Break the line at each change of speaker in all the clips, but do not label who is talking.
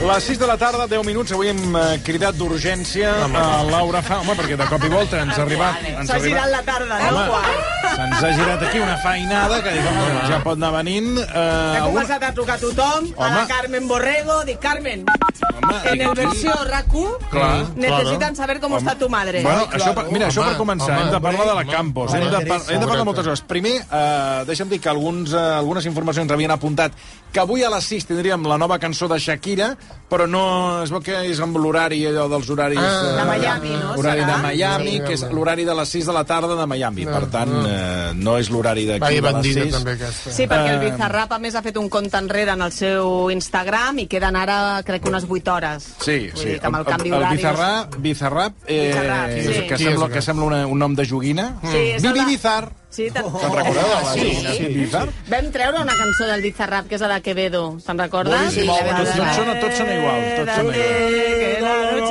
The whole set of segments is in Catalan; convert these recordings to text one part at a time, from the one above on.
Les 6 de la tarda, 10 minuts, avui hem eh, cridat d'urgència a Laura Fa... Home, perquè de cop i volta ens ha arribat... ens ha
S'ha girat
arribat-
la tarda, no?
Home,
Juan?
se'ns ha girat aquí una feinada que dic, home, ja pot anar venint... Eh,
T'ha
alguna-
començat a trucar tothom, a la
Home.
Carmen Borrego, dic Carmen,
Home,
en
dic,
el versió RAC1
Clar,
necessiten saber com està tu madre.
Bueno, això, per- mira, això per començar, hem de parlar de la Campos, hem de, par hem de parlar de moltes coses. Primer, eh, deixa'm dir que alguns, eh, algunes informacions havien apuntat que avui a les 6 tindríem la nova cançó de Shakira, però no es veu que és amb l'horari allò dels horaris... Eh,
De Miami, no?
Horari de
Serà?
Miami,
Sí,
que és
home.
l'horari de les 6 de la tarda de Miami. Per tant, eh, no és l'horari
Va
d'aquí
dir
de les
bandida,
6.
també, aquesta.
Sí, perquè
eh,
el Bizarrap, a més, ha fet un compte enrere en el seu Instagram i queden ara, crec, que unes 8 hores.
Sí,
Vull
sí.
dir que amb el canvi
el
d'horaris-
Bizarrap, Bizarrap, eh,
Bizarrap, sí.
que,
Qui és
sembla,
aquest?
que sembla una, un nom de joguina.
Sí, és
Bibi
la-
Bizar.
Sí, te'n
Te'n recordeu? de la-
Sí,
sí, Bizar?
Vam treure una cançó del Bizarrap, que és la de Quevedo. Se'n recorda?
Sí,
la
tots,
vam
tots,
treure.
sona, tots sona igual. Tots sona igual.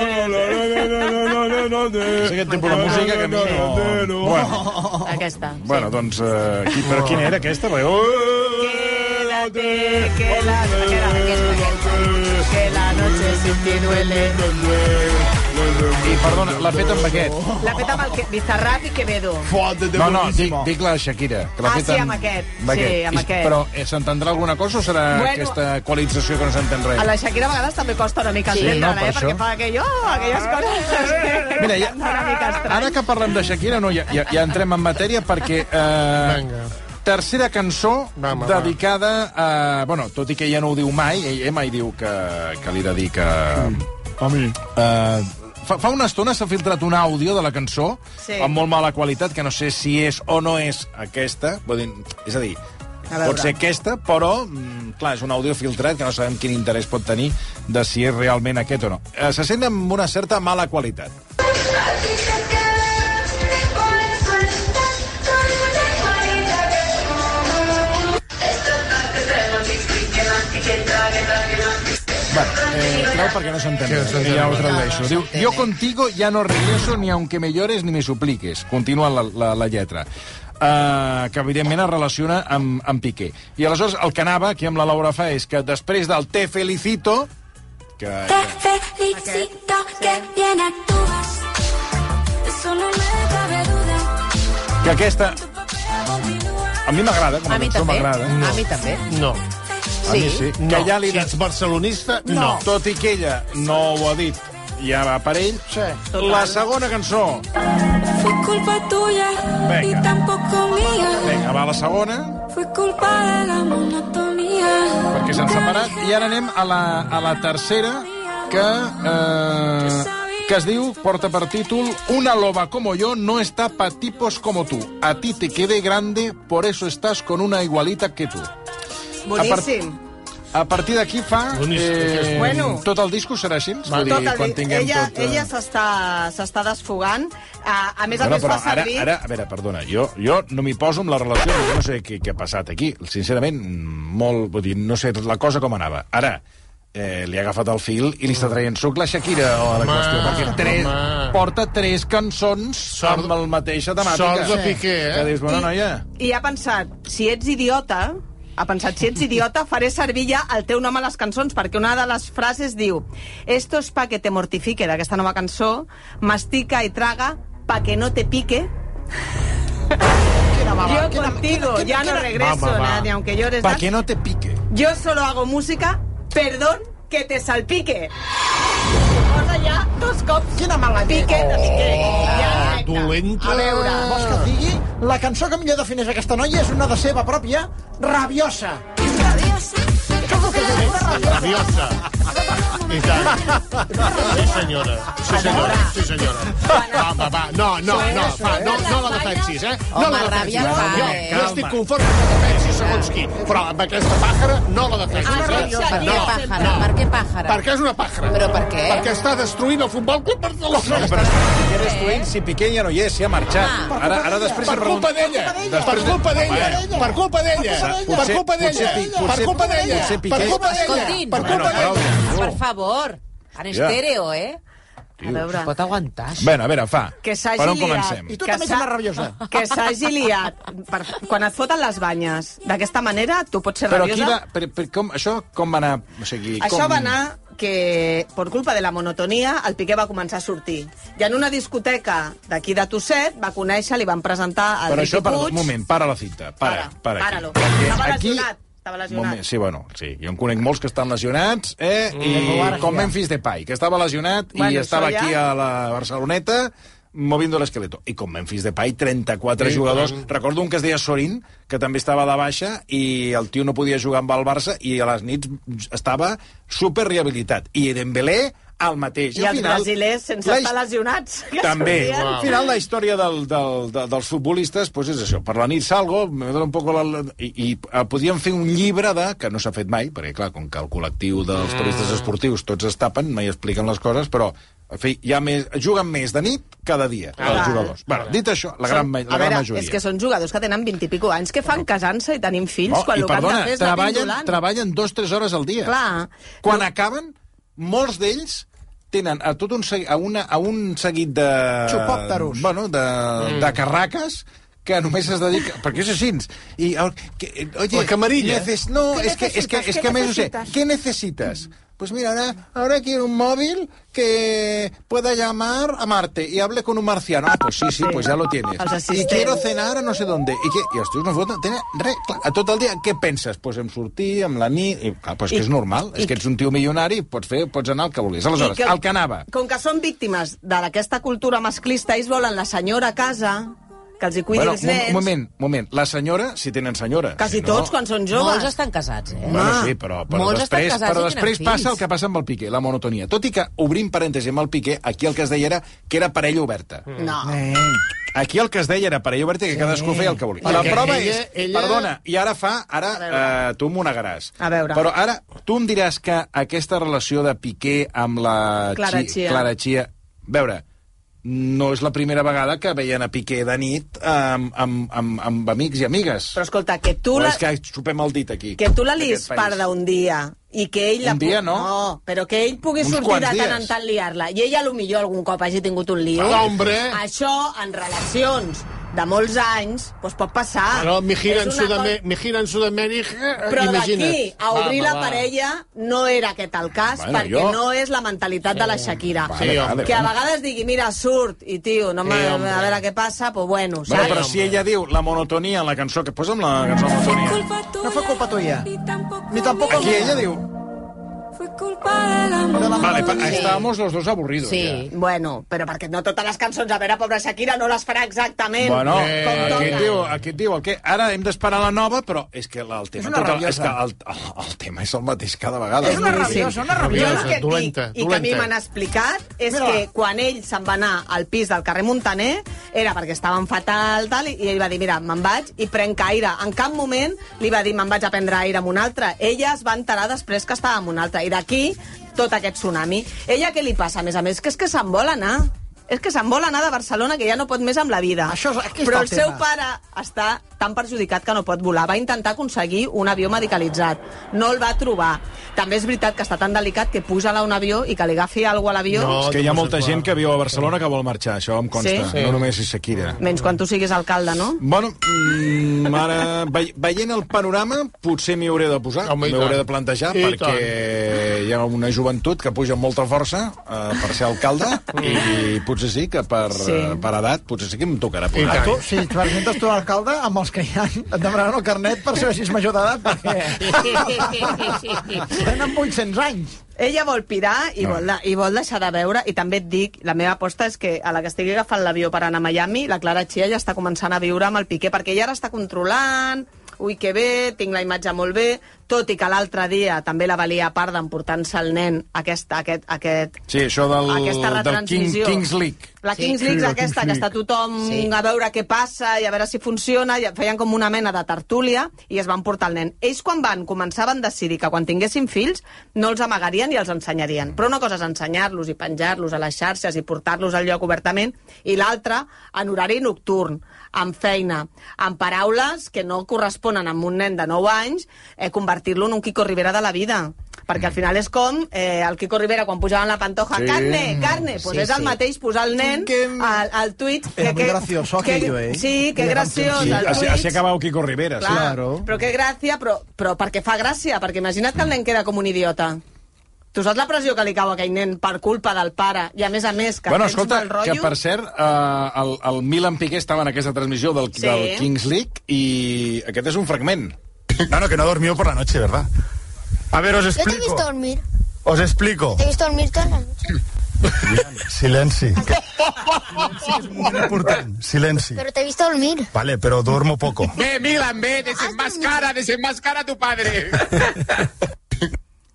És aquest tipus de música que a mi no... Bueno,
Aquesta. sí.
bueno doncs, eh, qui, però quina era aquesta? Perquè...
Quédate, que la... Quédate, aquesta, aquesta. Que la noche sin ti duele.
I, perdona, l'ha fet amb aquest.
L'ha fet amb el que... Bizarrap i Quevedo.
No, no, dic, dic la Shakira. Que l'ha
Ah,
fet
sí, amb aquest. Sí, amb
I-
aquest.
Però eh, s'entendrà alguna cosa o serà
Bueno.
aquesta equalització que no s'entén res?
A la Shakira a vegades també costa una mica
Sí,
entendre-la,
no, per
eh? Perquè
això.
fa aquello, aquelles coses... que-
Mira, ja-
Una mica estrany.
Ara que parlem de Shakira, no, ja, ja, ja entrem en matèria perquè... Eh,
Vinga.
Tercera cançó
Va, va, va.
dedicada a... Bueno, tot i que ella no ho diu mai, ella mai diu que, que li dedica... A mi. Eh, fa, fa una estona s'ha filtrat un àudio de la cançó
Sí.
amb molt mala qualitat, que no sé si és o no és aquesta. Vull dir, és a dir,
A veure.
pot ser aquesta, però, mm, clar, és un àudio filtrat que no sabem quin interès pot tenir de si és realment aquest o no. Eh, se sent amb una certa mala qualitat. Bueno, eh, treu perquè no s'entén.
Sí, s'entén.
Sí, ja ho tradueixo. Diu, yo contigo ya no regreso ni aunque me llores ni me supliques. Continua la, la, la lletra. Uh, que evidentment es relaciona amb, amb Piqué. I aleshores el que anava aquí amb la Laura fa és que després del Te felicito que,
Te felicito que bien actúas. Eso no me cabe duda.
que aquesta
Tu papel continúa.
a mi m'agrada, com a,
A mi
cançó
també.
m'agrada.
A mi també.
No.
A mi sí.
No.
Que ja li...
Si ets barcelonista, no.
No. Tot i que ella no ho ha dit, ja va per ell.
Sí.
La segona cançó.
Fue culpa tuya
Venga.
y tampoco mía.
Vinga, va la segona,
Fue culpa de la monotonía.
perquè s'han separat. I ara anem a la, a la tercera, que, eh, que es diu, porta per títol, Una loba como yo no está pa tipos como tú. A ti te quede grande, por eso estás con una igualita que tú.
Boníssim.
A partir d'aquí fa...
Boníssim,
Eh,
aquesta.
bueno.
Bueno.
Tot el disco serà així? Vull dir,
Tot
Tota,
el
quan
dit.
tinguem
ella
tot... eh,
ella s'està s'està desfogant. A, a més a
Bueno,
més
però
fa
ara,
servir...
ara, a veure, perdona, jo, jo no m'hi poso amb la relació, perquè no sé què, què ha passat aquí. Sincerament, molt, vull dir, no sé la cosa com anava. Ara, eh, li ha agafat el fil i li està traient suc la Shakira o la
Home,
qüestió, perquè tres,
home.
porta tres cançons
Sort-
amb el mateixa temàtica.
sort de Piqué, eh?
Que dius, bona noia...
I ha pensat, si ets idiota, ha pensat, si ets idiota, faré servir ja el teu nom a les cançons, perquè una de les frases diu «Esto es pa que te mortifique», d'aquesta nova cançó, «Mastica i traga pa que no te pique». Yo contigo ya no regreso,
Va, va, va.
ni aunque llores.
Pa que no te pique.
Yo solo hago música, perdón, que te salpique. Posa ja dos cops. Quina mala Pique, despique.
Oh,
ja
Ah,
directe.
Dolenta.
A veure.
Vols que et digui? La cançó que millor defineix aquesta noia és una de seva pròpia, rabiosa.
Rabiosa.
Rabiosa. I tant. Sí, senyora. Sí, senyora. Sí, senyora. Va, va, va. No, no, no. Va, no, no la defensis, eh? No
Home,
la defensis.
ràbia fa,
Jo,
eh?
jo estic conforme que defensis segons qui. Però amb aquesta pàjara no la
Ah,
defensis,
rabiosa.
Per
eh?
què
No,
pàjara? Per
no.
què pàjara?
Perquè és una pàjara.
Però per què?
Perquè està destruint el Futbol Club Barcelona.
Però ja destruint, si Piqué ja no hi és, si ha marxat.
Ah.
ara, ara després...
Per
es pregunta-
culpa d'ella. Per culpa d'ella. Per culpa d'ella. Per
Potser-
culpa
potser
d'ella.
Pi-
Per
potser-
culpa d'ella.
potser Piqué-
Per culpa d'ella.
Escoltin.
Per
Bueno,
culpa
però,
d'ella.
Per favor, en estèreo, eh?
A veure.
Pot aguantar. això.
Bueno, a veure, fa.
Que s'hagi
per on
liat.
comencem?
I tu
que
també
s'ha-
seràs rabiosa.
Que s'hagi liat. Per, quan et foten les banyes, d'aquesta manera tu pots ser
Però,
rabiosa.
qui va, per, per, com, això com va anar? O sigui,
Això
com...
va anar que per culpa de la monotonia el Piqué va començar a sortir. I en una discoteca d'aquí de Tosset va conèixer, li van presentar el
Però
Riqui
això, para,
Puig.
un moment, para la cinta. Para, para.
Para, para-lo.
Perquè
Estava lesionat, estava lesionat.
Moment, sí, bueno, sí. Jo en conec molts que estan lesionats, eh? Mm. I com Memphis Depay, que estava lesionat bueno, i
Bueno,
estava
això ja-
aquí a la Barceloneta moviendo el esqueleto. I com Memphis Depay, 34
Sí,
jugadors.
tant.
Recordo un que es deia Sorin, que també estava de baixa, i el tio no podia jugar amb el Barça, i a les nits estava super rehabilitat. I Dembélé, el mateix.
I
al
els
final,
brasilers, sense
la
estar
his-
lesionats, que
també.
sortien.
Al final, la història del, del, de, dels futbolistes pues és això. Per la nit salgo, me dono un poco la... I, i eh, podríem fer un llibre de... que no s'ha fet mai, perquè, clar, com que el col·lectiu dels
Mm.
periodistes esportius tots es tapen, mai expliquen les coses, però en fi, hi ha més, juguen més de nit cada dia,
Ah,
els
clar.
jugadors. Bueno, dit això, la gran, ma-
a
la gran
veure,
majoria.
és que són jugadors que tenen 20 i pico anys que fan casant-se i tenim fills
No,
quan
I
el que han
perdona,
de fer és anar
treballen,
pindolant.
treballen dos, tres hores al dia.
Clar.
Quan acaben, molts d'ells tenen a tot un, segui- a una, a un seguit de...
Xupòpteros.
Bueno, de, mm. de carraques que només es dedica... Perquè és així. I, el, que, eh, oye,
La camarilla.
Neces, no,
Què
és que, és que,
necessites?
és
Què
que a més ho sé.
necessites?
Què necessites? Pues mira, ahora, ahora quiero un móvil que pueda llamar a Marte y hable con un marciano. Ah, pues sí, sí, pues ya lo tienes.
Els
Y
assistents.
quiero cenar a no sé dónde. I, que, i els tios no foten, tenen res, clar, a tot el dia, què penses? Pues em sortir, amb la nit... I, ah, pues que
I-
és normal,
i-
és que ets un tio milionari, pots fer, pots anar el que vulguis.
I
Aleshores, que... el que anava...
Com que són víctimes de- d'aquesta cultura masclista, ells volen la senyora a casa, que els hi cuidi els
un,
nens.
un moment, un moment. La senyora, si tenen senyora. si
Quasi
no...
tots, quan són joves.
Molts estan casats, eh?
Bueno, sí, però, però
Molts estan
després,
casats
però
i tenen
després
fills.
passa el que passa amb el Piqué, la monotonia. Tot i que, obrim parèntesi amb el Piqué, aquí el que es deia era que era parella oberta.
No.
Aquí el que es deia era parella oberta i que cadascú feia el que volia. La
Perquè
prova
ella-
és...
ella-
Perdona, i ara fa... Ara eh, tu m'ho negaràs.
A veure.
Però ara tu em diràs que aquesta relació de Piqué amb la...
Clara
Chi-
Chia.
Clara Chia... A veure, no és la primera vegada que veien a Piqué de nit eh, amb, amb, amb, amb amics i amigues.
Però escolta, que tu,
Però
la,
és que xupem el dit aquí.
que tu la liis
d'aquest país.
parda un dia i que ell la
Un
pu-
dia, no.
no però que ell pugui
Uns
sortir de
quants
tant
dies.
en tant liar-la i ella a lo millor algun cop hagi tingut un lío
Ah, hombre.
això en relacions de molts anys doncs pot passar
Però mi gira, en
És una
Sudamè...
cosa- Eh,
mi gira en Sudamèrica,
però
imagina't.
d'aquí a obrir
Va,
la
va, va.
parella no era aquest el cas
Bueno,
perquè
jo-
no és la mentalitat de la Shakira
Sí, home.
vale,
que a
vale.
vegades digui, mira, surt i tio, no me-
Sí, hombre.
a veure què passa pues bueno,
Bueno,
saps?
però si ella diu la monotonia en la cançó, que posa'm la cançó monotonia.
No fue culpa tuya. Ni tampoco
Aquí ella diu...
Fue culpa del amor.
De la
Vale, pa,
monotonia.
estábamos los dos aburridos
Sí.
ya.
Bueno, però perquè no totes les cançons, a veure, pobra Shakira, no les farà exactament.
Bueno,
Eh,
eh,
com
aquest,
toca.
diu, aquest diu el que... Ara hem d'esperar la nova, però és que la- el tema...
una
tot el, és
rabiosa.
que el, el, el, tema és el mateix cada vegada.
És una rabiosa, una
Jo el
rabiosa.
que et
Dolenta,
dic, i que a mi
dolenta.
m'han explicat, és
Mira-la.
que quan ell se'n va anar al pis del carrer Montaner, era perquè estaven fatal, tal, i i ell va dir, mira, me'n vaig i prenc aire. En cap moment li va dir, me'n vaig a prendre aire amb un altre. Ella es va enterar després que estava amb un altre. I d'aquí, tot aquest tsunami. Ella què li passa? A més a més, que és que se'n vol anar. És que se'n vol anar de Barcelona, que ja no pot més amb la vida.
Això és- aquí
Però
està
el
el
seu
tema.
pare està tan perjudicat que no pot volar. Va intentar aconseguir un avió medicalitzat. No el va trobar. També és veritat que està tan delicat que puja a un avió i que li agafi alguna a l'avió...
No.
És que hi ha molta gent que viu a Barcelona que vol marxar, això em consta.
Sí?
Sí? No només és Shakira.
Menys quan tu siguis alcalde, no?
Bueno, mm, ara, ve- veient el panorama, potser m'hi hauré de posar,
Home, i
m'hi hauré de
tant.
plantejar,
I
perquè hi ha una joventut que puja amb molta força eh, per ser alcalde, i potser sí que per,
Sí.
eh, per edat, potser sí que em tocarà
I
posar.
tant.
Tu, si et presentes tu a l'alcalde, amb els que hi ha, et demanaran el carnet per saber si és major d'edat, perquè... Tenen 800 anys.
Ella vol pirar i, vol, de- i vol deixar de veure, i també et dic, la meva aposta és que a la que estigui agafant l'avió per anar a Miami, la Clara Chia ja està començant a viure amb el Piqué, perquè ella ara està controlant, ui que bé, tinc la imatge molt bé, tot i que l'altre dia també la valia a part d'emportant-se el nen aquest, aquest, aquest,
Sí, això del,
aquesta
del King,
retransmissió.
Kings League.
La
Sí.
Kings
Sí,
League és
la
aquesta,
Kings
que
League.
està tothom
Sí.
a veure què passa i a veure si funciona, i feien com una mena de tertúlia i es van portar el nen. Ells quan van començar van decidir que quan tinguessin fills no els amagarien i els ensenyarien. Però una cosa és ensenyar-los i penjar-los a les xarxes i portar-los al lloc obertament, i l'altra en horari nocturn, amb feina, amb paraules que no corresponen amb un nen de 9 anys, eh, convertir-lo en un Quico Rivera de la vida. Perquè al final és com eh, el Quico Rivera quan pujava en la pantoja,
Sí.
carne, carne, doncs
Sí,
és el
sí.
mateix posar el nen
Que-
al, al Twitch.
Era muy gracioso aquello, ¿eh?
Sí, que
Era
graciós.
Sí,
cancioncilla.
al
així,
Twitch.
així acabau Quico Rivera.
Clar,
Sí.
Claro.
Però que gràcia, però, però perquè fa gràcia, perquè imagina't que el nen queda com un idiota. Tu saps la pressió que li cau a aquell nen per culpa del pare? I a més a més, que
bueno,
tens
escolta,
mal rotllo...
que per cert, eh, el, el Milan Piqué estava en aquesta transmissió del,
Sí.
del Kings League i aquest és un fragment.
Claro, que no ha dormido por la noche, ¿verdad? A ver, os
Yo te he
explico.
visto dormir.
Os explico.
Te he visto dormir toda la noche.
Silenci. Important. Silenci.
Pero te he visto dormir.
Vale, pero duermo poco.
Ve, Milan, ve, desenmascara, desenmascara a tu padre.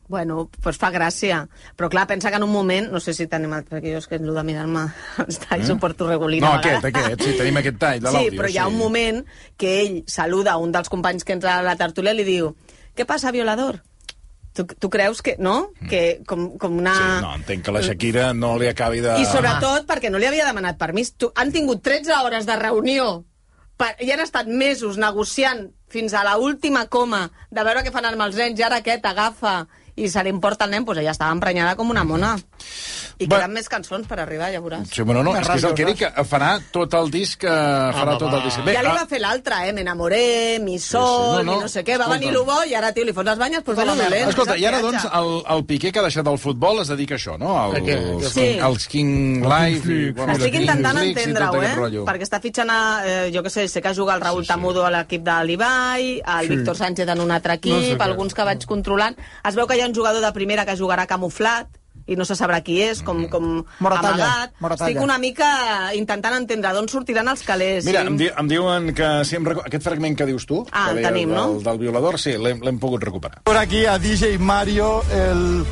Bueno, pues fa gràcia. Però clar, pensa que en un moment... No sé si tenim altre, perquè jo és que el de mirar-me els talls mm? ho porto
Eh?
regulina.
No,
a vegades.
aquest, aquest. Sí, tenim aquest tall de l'àudio.
Sí, però hi ha un moment que ell saluda un dels companys que entra a la tertúlia i li diu «Què passa, violador?» Tu, tu creus que... No? Que com, com una...
Mm. Sí, no, entenc que la Shakira no li acabi de...
Ah. I sobretot perquè no li havia demanat permís. Tu, han tingut 13 hores de reunió per, i han estat mesos negociant fins a la última coma de veure què fan amb els nens i ara aquest agafa i se li importa el nen, doncs ella estava emprenyada com una mona. I
Va-
queden més cançons per arribar, ja veuràs.
Sí, bueno, no, és que és el que dic, que farà tot el disc, eh, farà
Home,
tot
va.
el disc.
ja li
ah,
va fer l'altra, eh? M'enamoré, mi
Sí,
sol,
sí, no, no.
no, no. mi no sé què. Va
Escolta.
venir lo bo i ara, tio, li fots les banyes, doncs va la dolent.
Escolta,
és el
i ara,
viatge.
doncs, el, el Piqué que ha deixat el futbol es dedica a això, no?
A
El,
què?
els,
Sí.
King, els King Live... I, bueno,
Estic
els Kings
intentant
Leagues i tot
entendre-ho,
aquest
eh?
rotllo.
Perquè està fitxant, a, eh, jo que sé, sé que juga el Raül sí, sí. Tamudo a l'equip de l'Ibai, el sí. Víctor Sánchez en un altre equip, no sé alguns que vaig controlant. Es veu que hi ha un jugador de primera que jugarà camuflat, i no se sabrà qui és,
Mm.
com, com
Moratalla,
amagat.
Moratalla.
Estic una mica intentant entendre d'on sortiran els calés.
Mira,
i-
em, di em diuen que si em recu- aquest fragment que dius tu,
Ah,
que
el
deia
tenim,
del,
no?
del violador, sí, l'hem l'hem pogut recuperar.
Por aquí a DJ Mario, el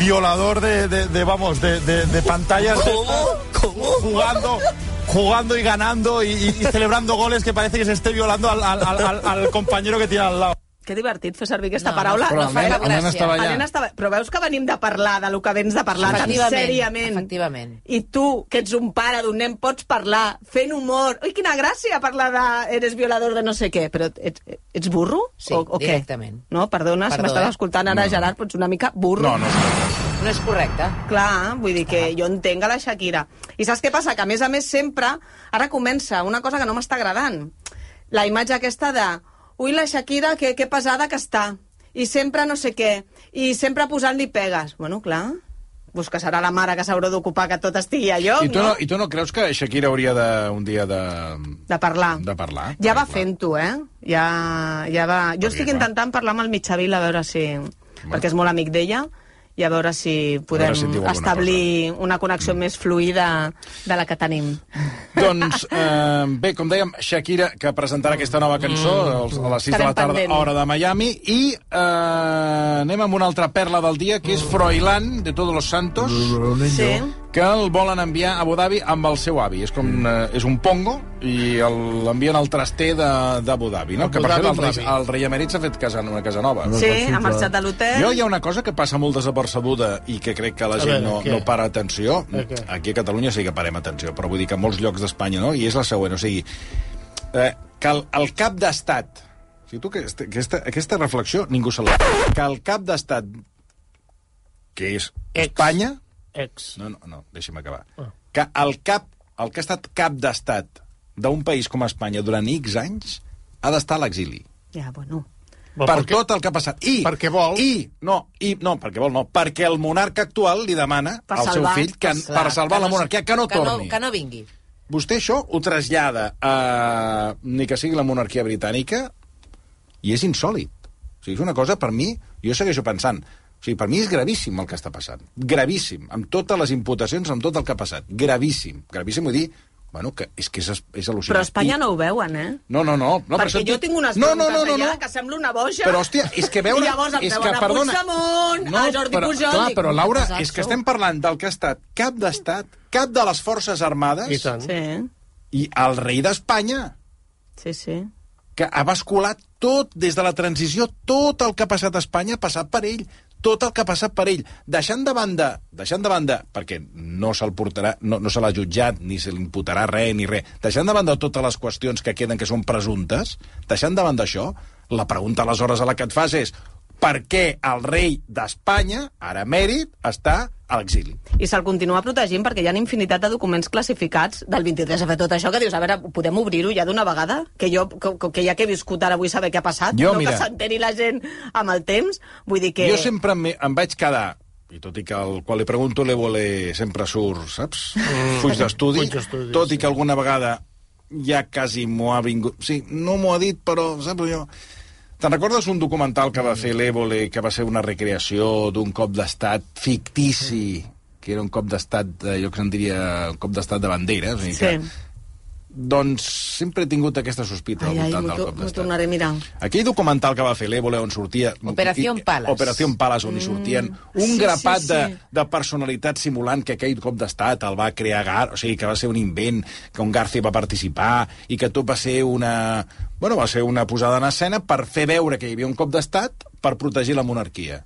violador de, de- de, vamos, de, de- de pantallas. de- Jugando, jugando y ganando y, y- y celebrando goles que parece que se esté violando al, al- al- al compañero que tiene al lado.
Que divertit fer servir aquesta paraula.
Però
No eh?
el
fa
nen,
cap
el nen
gràcia.
estava allà.
El nen estava... Però veus que venim de parlar de lo que vens de parlar tan
Efectivament,
sèriament.
efectivament.
I tu, que ets un pare d'un nen, pots parlar fent humor. Ui, quina gràcia parlar de eres violador de no sé què. Però ets, ets burro?
Sí,
o, o què?
directament.
No, perdona, si
Perdó,
m'estàs
eh?
escoltant ara, Gerard, però ets una mica burro.
No, no, no.
No és correcte.
Clar, vull dir que jo entenc a la Shakira. I saps què passa? Que a més a més sempre, ara comença una cosa que no m'està agradant. La imatge aquesta de, ui la Shakira, que, que pesada que està. I sempre no sé què. I sempre posant-li pegues. Bueno, clar, doncs que serà la mare que s'haurà d'ocupar que tot estigui a lloc,
I tu no,
Oh, no?
I tu no creus que Shakira hauria de, un dia de...
De parlar.
De parlar,
Ja va
clar.
fent-ho, eh? Ja, ja va... Jo estic
clar.
intentant parlar amb el Mitjavila a veure si... Perquè és molt amic d'ella i a veure si podem
si et diu alguna Mm.
establir una connexió més fluida de la que tenim.
Doncs, eh, bé, com dèiem, Shakira, que presentarà aquesta nova cançó als- a les 6 de la
Estarem
tarda,
pendent.
hora de Miami, i eh, anem amb una altra perla del dia, que és Froilán, de Todos los Santos,
Sí.
que el volen enviar a Abu Dhabi amb el seu avi. És com eh, és un pongo i el- l'envien al traster de- d'Abu Dhabi, no?
Abu
Que per cert,
Dhabi,
el, rei-
Dhabi.
el rei emèrit s'ha fet casa, una casa nova.
Sí, ha marxat de l'hotel.
Jo hi ha una cosa que passa molt desapercebuda i que crec que la
A
gent
veure,
no,
què?
no para atenció.
què?
Aquí a Catalunya sí que parem atenció, però vull dir que a molts llocs d'Espanya no, i és la següent. O sigui, eh, que el, el cap d'estat... O sigui, tu, que este- aquesta, aquesta reflexió ningú se la... Que el cap d'estat, que és
Ex. Ah.
Espanya...
Ex.
No, no, no, deixi'm acabar. Que el cap, el que ha estat cap d'estat d'un país com Espanya durant X anys ha d'estar a l'exili.
Ja, bueno.
Per,
Per què?
tot el que ha passat. I,
Perquè vol.
I, no, i, no, perquè vol no, perquè el monarca actual li demana
Per
al
salvar,
seu fill que,
doncs
per, per salvar la
no-
monarquia, que no
que
torni.
No, que no vingui.
Vostè això ho trasllada a... ni que sigui la monarquia britànica i és insòlid. O sigui, és una cosa, per mi, jo segueixo pensant, o sigui, per mi és gravíssim el que està passant. Gravíssim, amb totes les imputacions, amb tot el que ha passat. Gravíssim. Gravíssim vull dir, bueno, que és que és, és al·lucinant.
Però a Espanya
I-
no ho veuen, eh?
No, no, no. no per
Perquè
això
jo
et dic-
tinc unes
no,
preguntes
no, no, no,
allà
no.
que sembla una boja.
Però, hòstia, és que veure...
I llavors em
és
veuen
que,
a
perdona,
Puigdemont, a Jordi
però,
Pujol...
Clar,
dic,
però, Laura,
"Pesats
és que
sou".
estem parlant del que ha estat cap d'estat, cap de les forces armades
I tant.
Sí,
i el rei d'Espanya,
sí, sí.
que ha basculat tot, des de la transició, tot el que ha passat a Espanya ha passat per ell tot el que ha passat per ell, deixant de banda, deixant de banda, perquè no se'l portarà, no, no se l'ha jutjat, ni se l'imputarà res, ni res, deixant de banda totes les qüestions que queden que són presumptes, deixant de banda això, la pregunta aleshores a la que et fas és per què el rei d'Espanya, ara emèrit, està a l'exili?
I se'l continua protegint perquè hi ha infinitat de documents classificats del 23 a fer tot això que dius, a veure, podem obrir-ho ja d'una vegada? Que jo, que, que ja que he viscut ara vull saber què ha passat,
Jo,
no
mira.
que s'enteni la gent amb el temps. Vull dir que...
Jo sempre em, em vaig quedar i tot i que al qual li pregunto l'Evole sempre surt, saps? Fuig d'estudi.
Fuig d'estudi,
Tot i
sí.
que alguna vegada ja quasi m'ho ha vingut... Sí, no m'ho ha dit, però, saps, jo... Te'n recordes un documental que va fer l'Evole, que va ser una recreació d'un cop d'estat fictici, que era un cop d'estat, eh, jo que se'n diria, un cop d'estat de bandera, o sigui
Sí.
que... Doncs sempre he tingut aquesta sospita
Ai,
al
ai,
voltant
m'ho
del
to-
cop
m'ho
d'estat.
tornaré a mirar.
Aquell documental que va fer l'Ébola on sortia...
Operación
i- i-
Palas.
Operación Palas, on hi sortien un
Mm. sí,
grapat
sí, sí.
De, de personalitats simulant que aquell cop d'estat el va crear Gar... O sigui, que va ser un invent, que un Garci va participar i que tot va ser una... Bueno, va ser una posada en escena per fer veure que hi havia un cop d'estat per protegir la monarquia.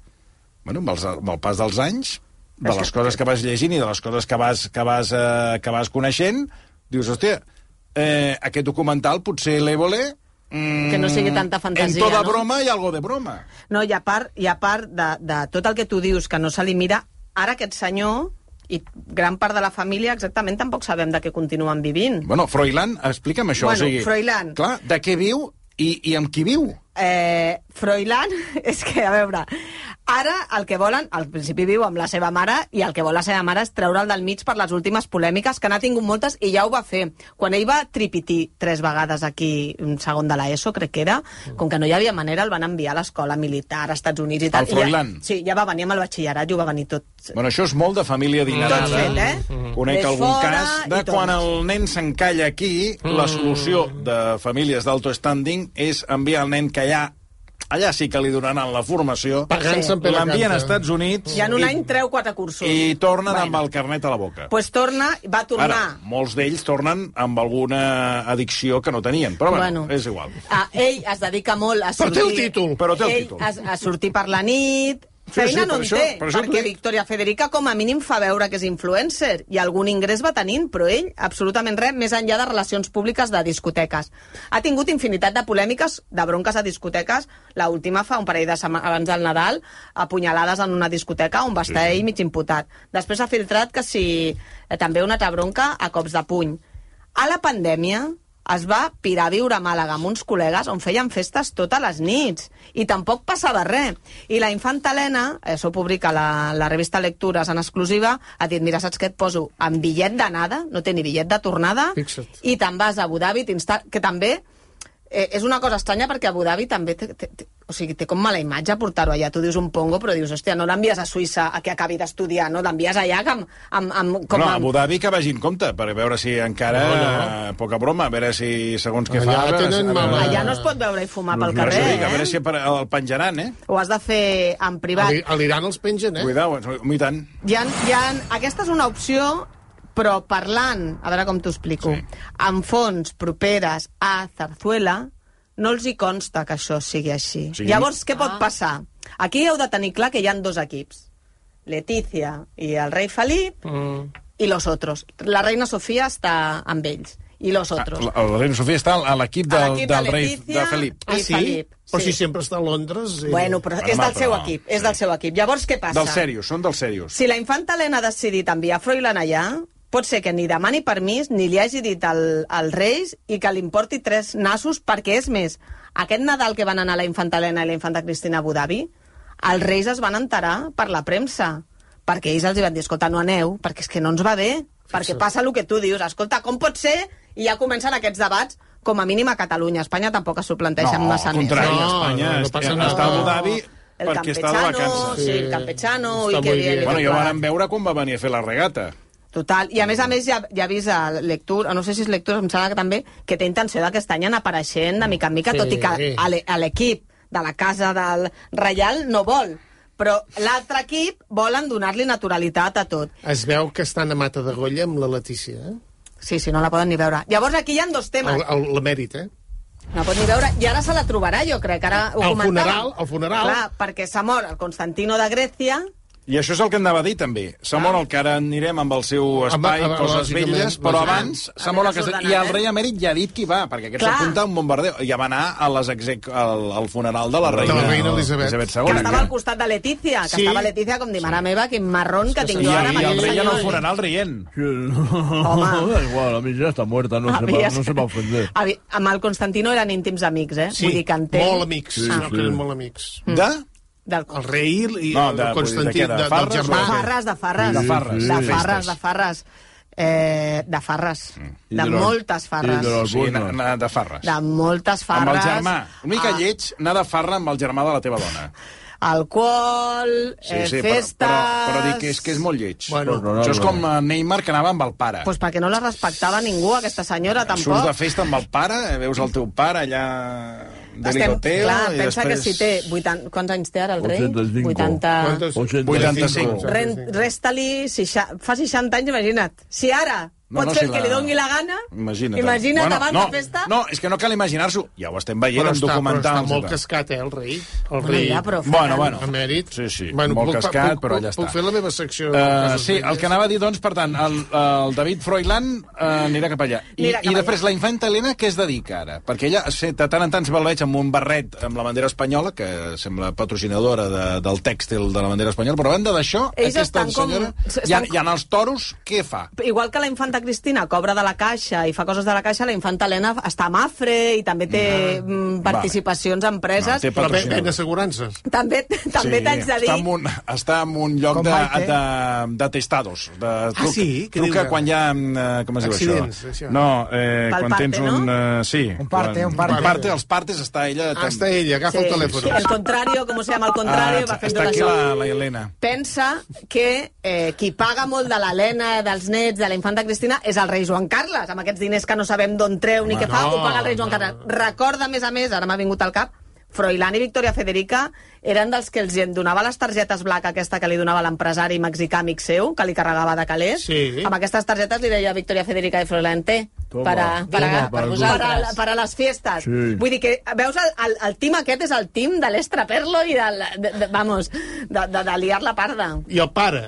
Bueno, amb, els, amb el pas dels anys, de les coses
eh,
que vas llegint i de les coses que vas, que vas, eh, que vas coneixent, dius, hòstia, eh, aquest documental potser l'Ébola... Mm,
Que no sigui tanta fantasia,
En toda
no?
broma hay algo de broma.
No, i a part, i a part de, de tot el que tu dius que no se li mira, ara aquest senyor i gran part de la família exactament tampoc sabem de què continuen vivint.
Bueno, Froilán, explica'm això.
Bueno,
o sigui,
Froilán.
Clar, de què viu i, i amb qui viu?
Eh, Froilán, és que, a veure, ara el que volen, al principi viu amb la seva mare, i el que vol la seva mare és treure'l del mig per les últimes polèmiques, que n'ha tingut moltes, i ja ho va fer. Quan ell va tripitir tres vegades aquí, un segon de l'ESO, crec que era, com que no hi havia manera, el van enviar a l'escola militar, a Estats Units i tal.
El
i
Froilán.
Ja, sí, ja va venir amb el batxillerat, i ho va venir tot
Bueno, això és molt de família dinerada.
Tot fet, eh?
Conec
Ves
algun
fora
cas de
i tot.
quan el nen s'encalla aquí, la
Mm.
solució de famílies d'alto standing és enviar el nen que allà, allà sí que li donaran la formació,
Pagant-se en Pere
l'envien a
Canta.
Estats Units
I en
i,
un any treu quatre cursos.
i tornen
Bueno,
amb el carnet a la boca.
Pues torna, va tornar.
Ara, molts d'ells tornen amb alguna addicció que no tenien, però bueno, és igual.
Ah, ell es dedica molt a
Però
sortir...
té el títol.
Però té el
ell
títol.
A, a sortir per la nit...
Sí,
Feina
sí,
no
per
en
això-
té,
per això t'ho
perquè
dic.
Victoria Federica com a mínim fa veure que és influencer i algun ingrés va tenint, però ell absolutament res, més enllà de relacions públiques de discoteques. Ha tingut infinitat de polèmiques, de bronques a discoteques, la última fa un parell de setmanes abans del Nadal, apunyalades en una discoteca on va estar ell mig imputat. Després ha filtrat que si eh, també una altra bronca a cops de puny. A la pandèmia es va pirar a viure a Màlaga amb uns col·legues on feien festes totes les nits i tampoc passava res. I la infanta Helena, eh, això ho publica la, la revista Lectures en exclusiva, ha dit, mira, saps què et poso? Amb bitllet d'anada, no té ni bitllet de tornada,
Fixa't.
i te'n vas a Abu Dhabi, t'insta- que també eh, és una cosa estranya perquè Abu Dhabi també té, té, té, o sigui, té com mala imatge portar-ho allà. Tu dius un pongo, però dius, hòstia, no l'envies a Suïssa a que acabi d'estudiar, no? L'envies allà amb, amb, amb,
Com
com
no, a
amb...
Abu Dhabi que vagi en compte, per veure si encara...
No,
eh, Poca broma, a veure si segons què fa...
Allà
a veure
tenen
si- a veure-
mala-
Allà no es pot veure i fumar pel
Per
carrer,
això dic, Doncs a
eh?
veure si per- el penjaran, eh?
Ho has de fer en privat.
A l'Iran els pengen, eh?
Cuidao, eh, i tant.
Hi ha, hi ha, aquesta és una opció, però parlant, a veure com t'ho explico, sí. amb fonts properes a Zarzuela, no els hi consta que això sigui així.
Sí.
Sí. Llavors, què pot passar? Aquí heu de tenir clar que hi han dos equips. Letícia i el rei Felip mm. i los otros. La reina Sofia està amb ells. I los otros.
Ah, La, la reina Sofia està a l'equip
A
del,
l'equip de
del rei
Letizia
de Felip.
i Felip,
Però
Ah, sí.
si sempre està a Londres... eh,
Bueno, però
Bueno,
és
home,
del seu
però-
equip, és del seu equip. Llavors, què passa?
Dels serios, són dels serios.
Si la infanta Helena ha decidit enviar Froilán allà, pot ser que ni demani permís, ni li hagi dit al, al Reis i que li importi tres nassos, perquè és més, aquest Nadal que van anar la infanta Helena i la infanta Cristina a Abu Dhabi, els Reis es van enterar per la premsa, perquè ells els hi van dir, escolta, no aneu, perquè és que no ens va bé, perquè passa el que tu dius, escolta, com pot ser? I ja comencen aquests debats, com a mínim a Catalunya. A Espanya tampoc es suplanteix amb una
al
sanesa.
contrari,
No,
Espanya
no, no
està,
passa nada.
està a Abu Dhabi
eh? El
perquè està de
campechano,
vacances.
sí, el campechano,
Està
i que
muy
bien.
bien.
i
Bueno,
que
ja ho
tal.
van veure quan va venir a fer la regata.
Total, i a més a més ja, ja avisa lectura, no sé si és lectura, em sembla que també, que té intenció d'aquest any anar apareixent de mica en mica,
Sí.
sí. tot i que a l'e- a l'equip de la casa del Reial no vol. Però l'altre equip volen donar-li naturalitat a tot.
Es veu que estan a Mata de Golla amb la Letícia, eh?
Sí, sí, no la poden ni veure. Llavors aquí hi ha dos temes.
El, el, el mèrit, eh?
No pot ni veure, i ara se la trobarà, jo crec, ara ho
El
comentàvem.
funeral, el funeral.
Clar, perquè s'ha mort el Constantino de Grècia,
I això és el que anava a dir, també. S'ha
Ah.
mort el que ara anirem amb el seu espai,
Amb- amb-
coses
lògicament,
velles, però
lògicament.
abans s'ha mort el que...
Amb
I el
desordenat,
rei emèrit ja ha dit qui va, perquè aquest
Clar.
s'apunta a un bombardeo. Ja va anar a les exec... al, al funeral de la reina,
reina Elisabet.
que
II.
estava al costat de Letícia, que
Sí.
estava Letícia com de mare meva, quin marrón que tinc
I,
jo ara.
i
amb
el
aquest
rei ja en el
senyor".
funeral rient.
Home.
Da igual, a mí ya está muerta, no, se, va,
Havies-
no se va a ofender.
Havi- Amb el Constantino eren íntims amics, eh?
Sí,
Vull dir que Mm. entenc...
molt amics. Sí,
Sí,
no,
sí.
que eren molt amics.
De?
Del
El rei i
No,
el
de-
Constantí,
de què,
de,
de
del
Farres
germà.
o de
Farres, de Farres.
De Farres.
De
eh? Sí. Mm.
Farres,
Festes.
de Farres. Eh, de Farres. De
de los-
moltes
i de
Farres.
O
los-
sigui, anar, anar de farres.
De moltes Farres.
Amb el germà. Una mica
Ah,
lleig anar de farra amb el germà de la teva dona.
Alcohol, eh,
però,
festes...
però, però dic que és, que és molt lleig.
Bueno.
Bueno, Això és com eh, Neymar que anava amb el pare.
Pues perquè no la respectava ningú, aquesta senyora, tampoc.
Surts de festa amb el pare, eh, veus el teu pare allà de bigoteo...
clar,
i
pensa
després...
que si té... 80, quants anys té ara el rei?
85.
80...
Quantos?
85.
Ren, Resta-li... seixa- Fa 60 anys, imagina't. Si ara
No, no,
no, pots no, fer
si
el
la-
que li doni la gana...
Imagina't.
Imagina't
Bueno,
abans
no,
la festa...
No, és que no cal imaginar-s'ho. Ja ho estem veient
Però
en
està, però està
documentals. i
molt eh,
tal.
cascat, eh, el rei. El
Bueno,
rei.
ja, però fa
Bueno,
tant.
bueno.
A mèrit.
Sí, sí, molt
puc-
cascat,
puc-
però ja
puc-
està.
Puc fer la meva secció? de
Uh,
casos
sí, el
bellas?
que anava a dir, doncs, per tant, el, el David Froilán uh, anirà cap allà. I,
Anirà
I
cap allà.
després la infanta Helena, què es dedica ara? Perquè ella, se- de tant en tant, se'l veig amb un barret amb la bandera espanyola, que sembla patrocinadora de, del tèxtil de la bandera espanyola, però a banda d'això,
Ells
aquesta
estan com-
senyora...
s-
I,
estan-
I en els toros, què fa?
igual que la infanta Cristina cobra de la caixa i fa coses de la caixa, la infanta Helena està a Mafre i també té mm, participacions a
No,
empreses.
té
Però ben,
patrocinador.
ben assegurances.
També, també t'haig de dir...
Està en un, està en un lloc
Com
de,
Maite. Ah,
de, de testados. De, truc,
sí? Què
Truca
dius?
quan hi ha... eh, Com es diu
Accidents,
això?
això.
No, eh,
Pel
quan
parte,
tens
no?
un... eh, sí.
Un parte,
quan-
un parte.
parte. Els partes està ella...
Ah, està ella, agafa el telèfon.
El contrario, com se llama el contrario, va fent
Ah, està
tot
aquí
això.
la, la Helena.
Pensa que eh, qui paga molt de l'Helena, dels nets, de la infanta Cristina, és el rei Joan Carles, amb aquests diners que no sabem d'on treu ni
Home,
què fa,
no,
ho paga el rei Joan
no.
Carles. Recorda, a més a més, ara m'ha vingut al cap, Froilán i Victoria Federica eren dels que els en donava les targetes black aquesta que li donava l'empresari mexicà amic seu, que li carregava de calés.
Sí.
Amb aquestes targetes li deia a Victoria Federica de Froilán, té,
Toma,
per a, per, a, per,
toma, per
per, a,
vosaltres.
per a les fiestes.
Sí.
Vull dir que, veus, el, el, el team aquest és el team de l'Estraperlo i del, de, de, vamos, de, de, de liar la parda.
I el pare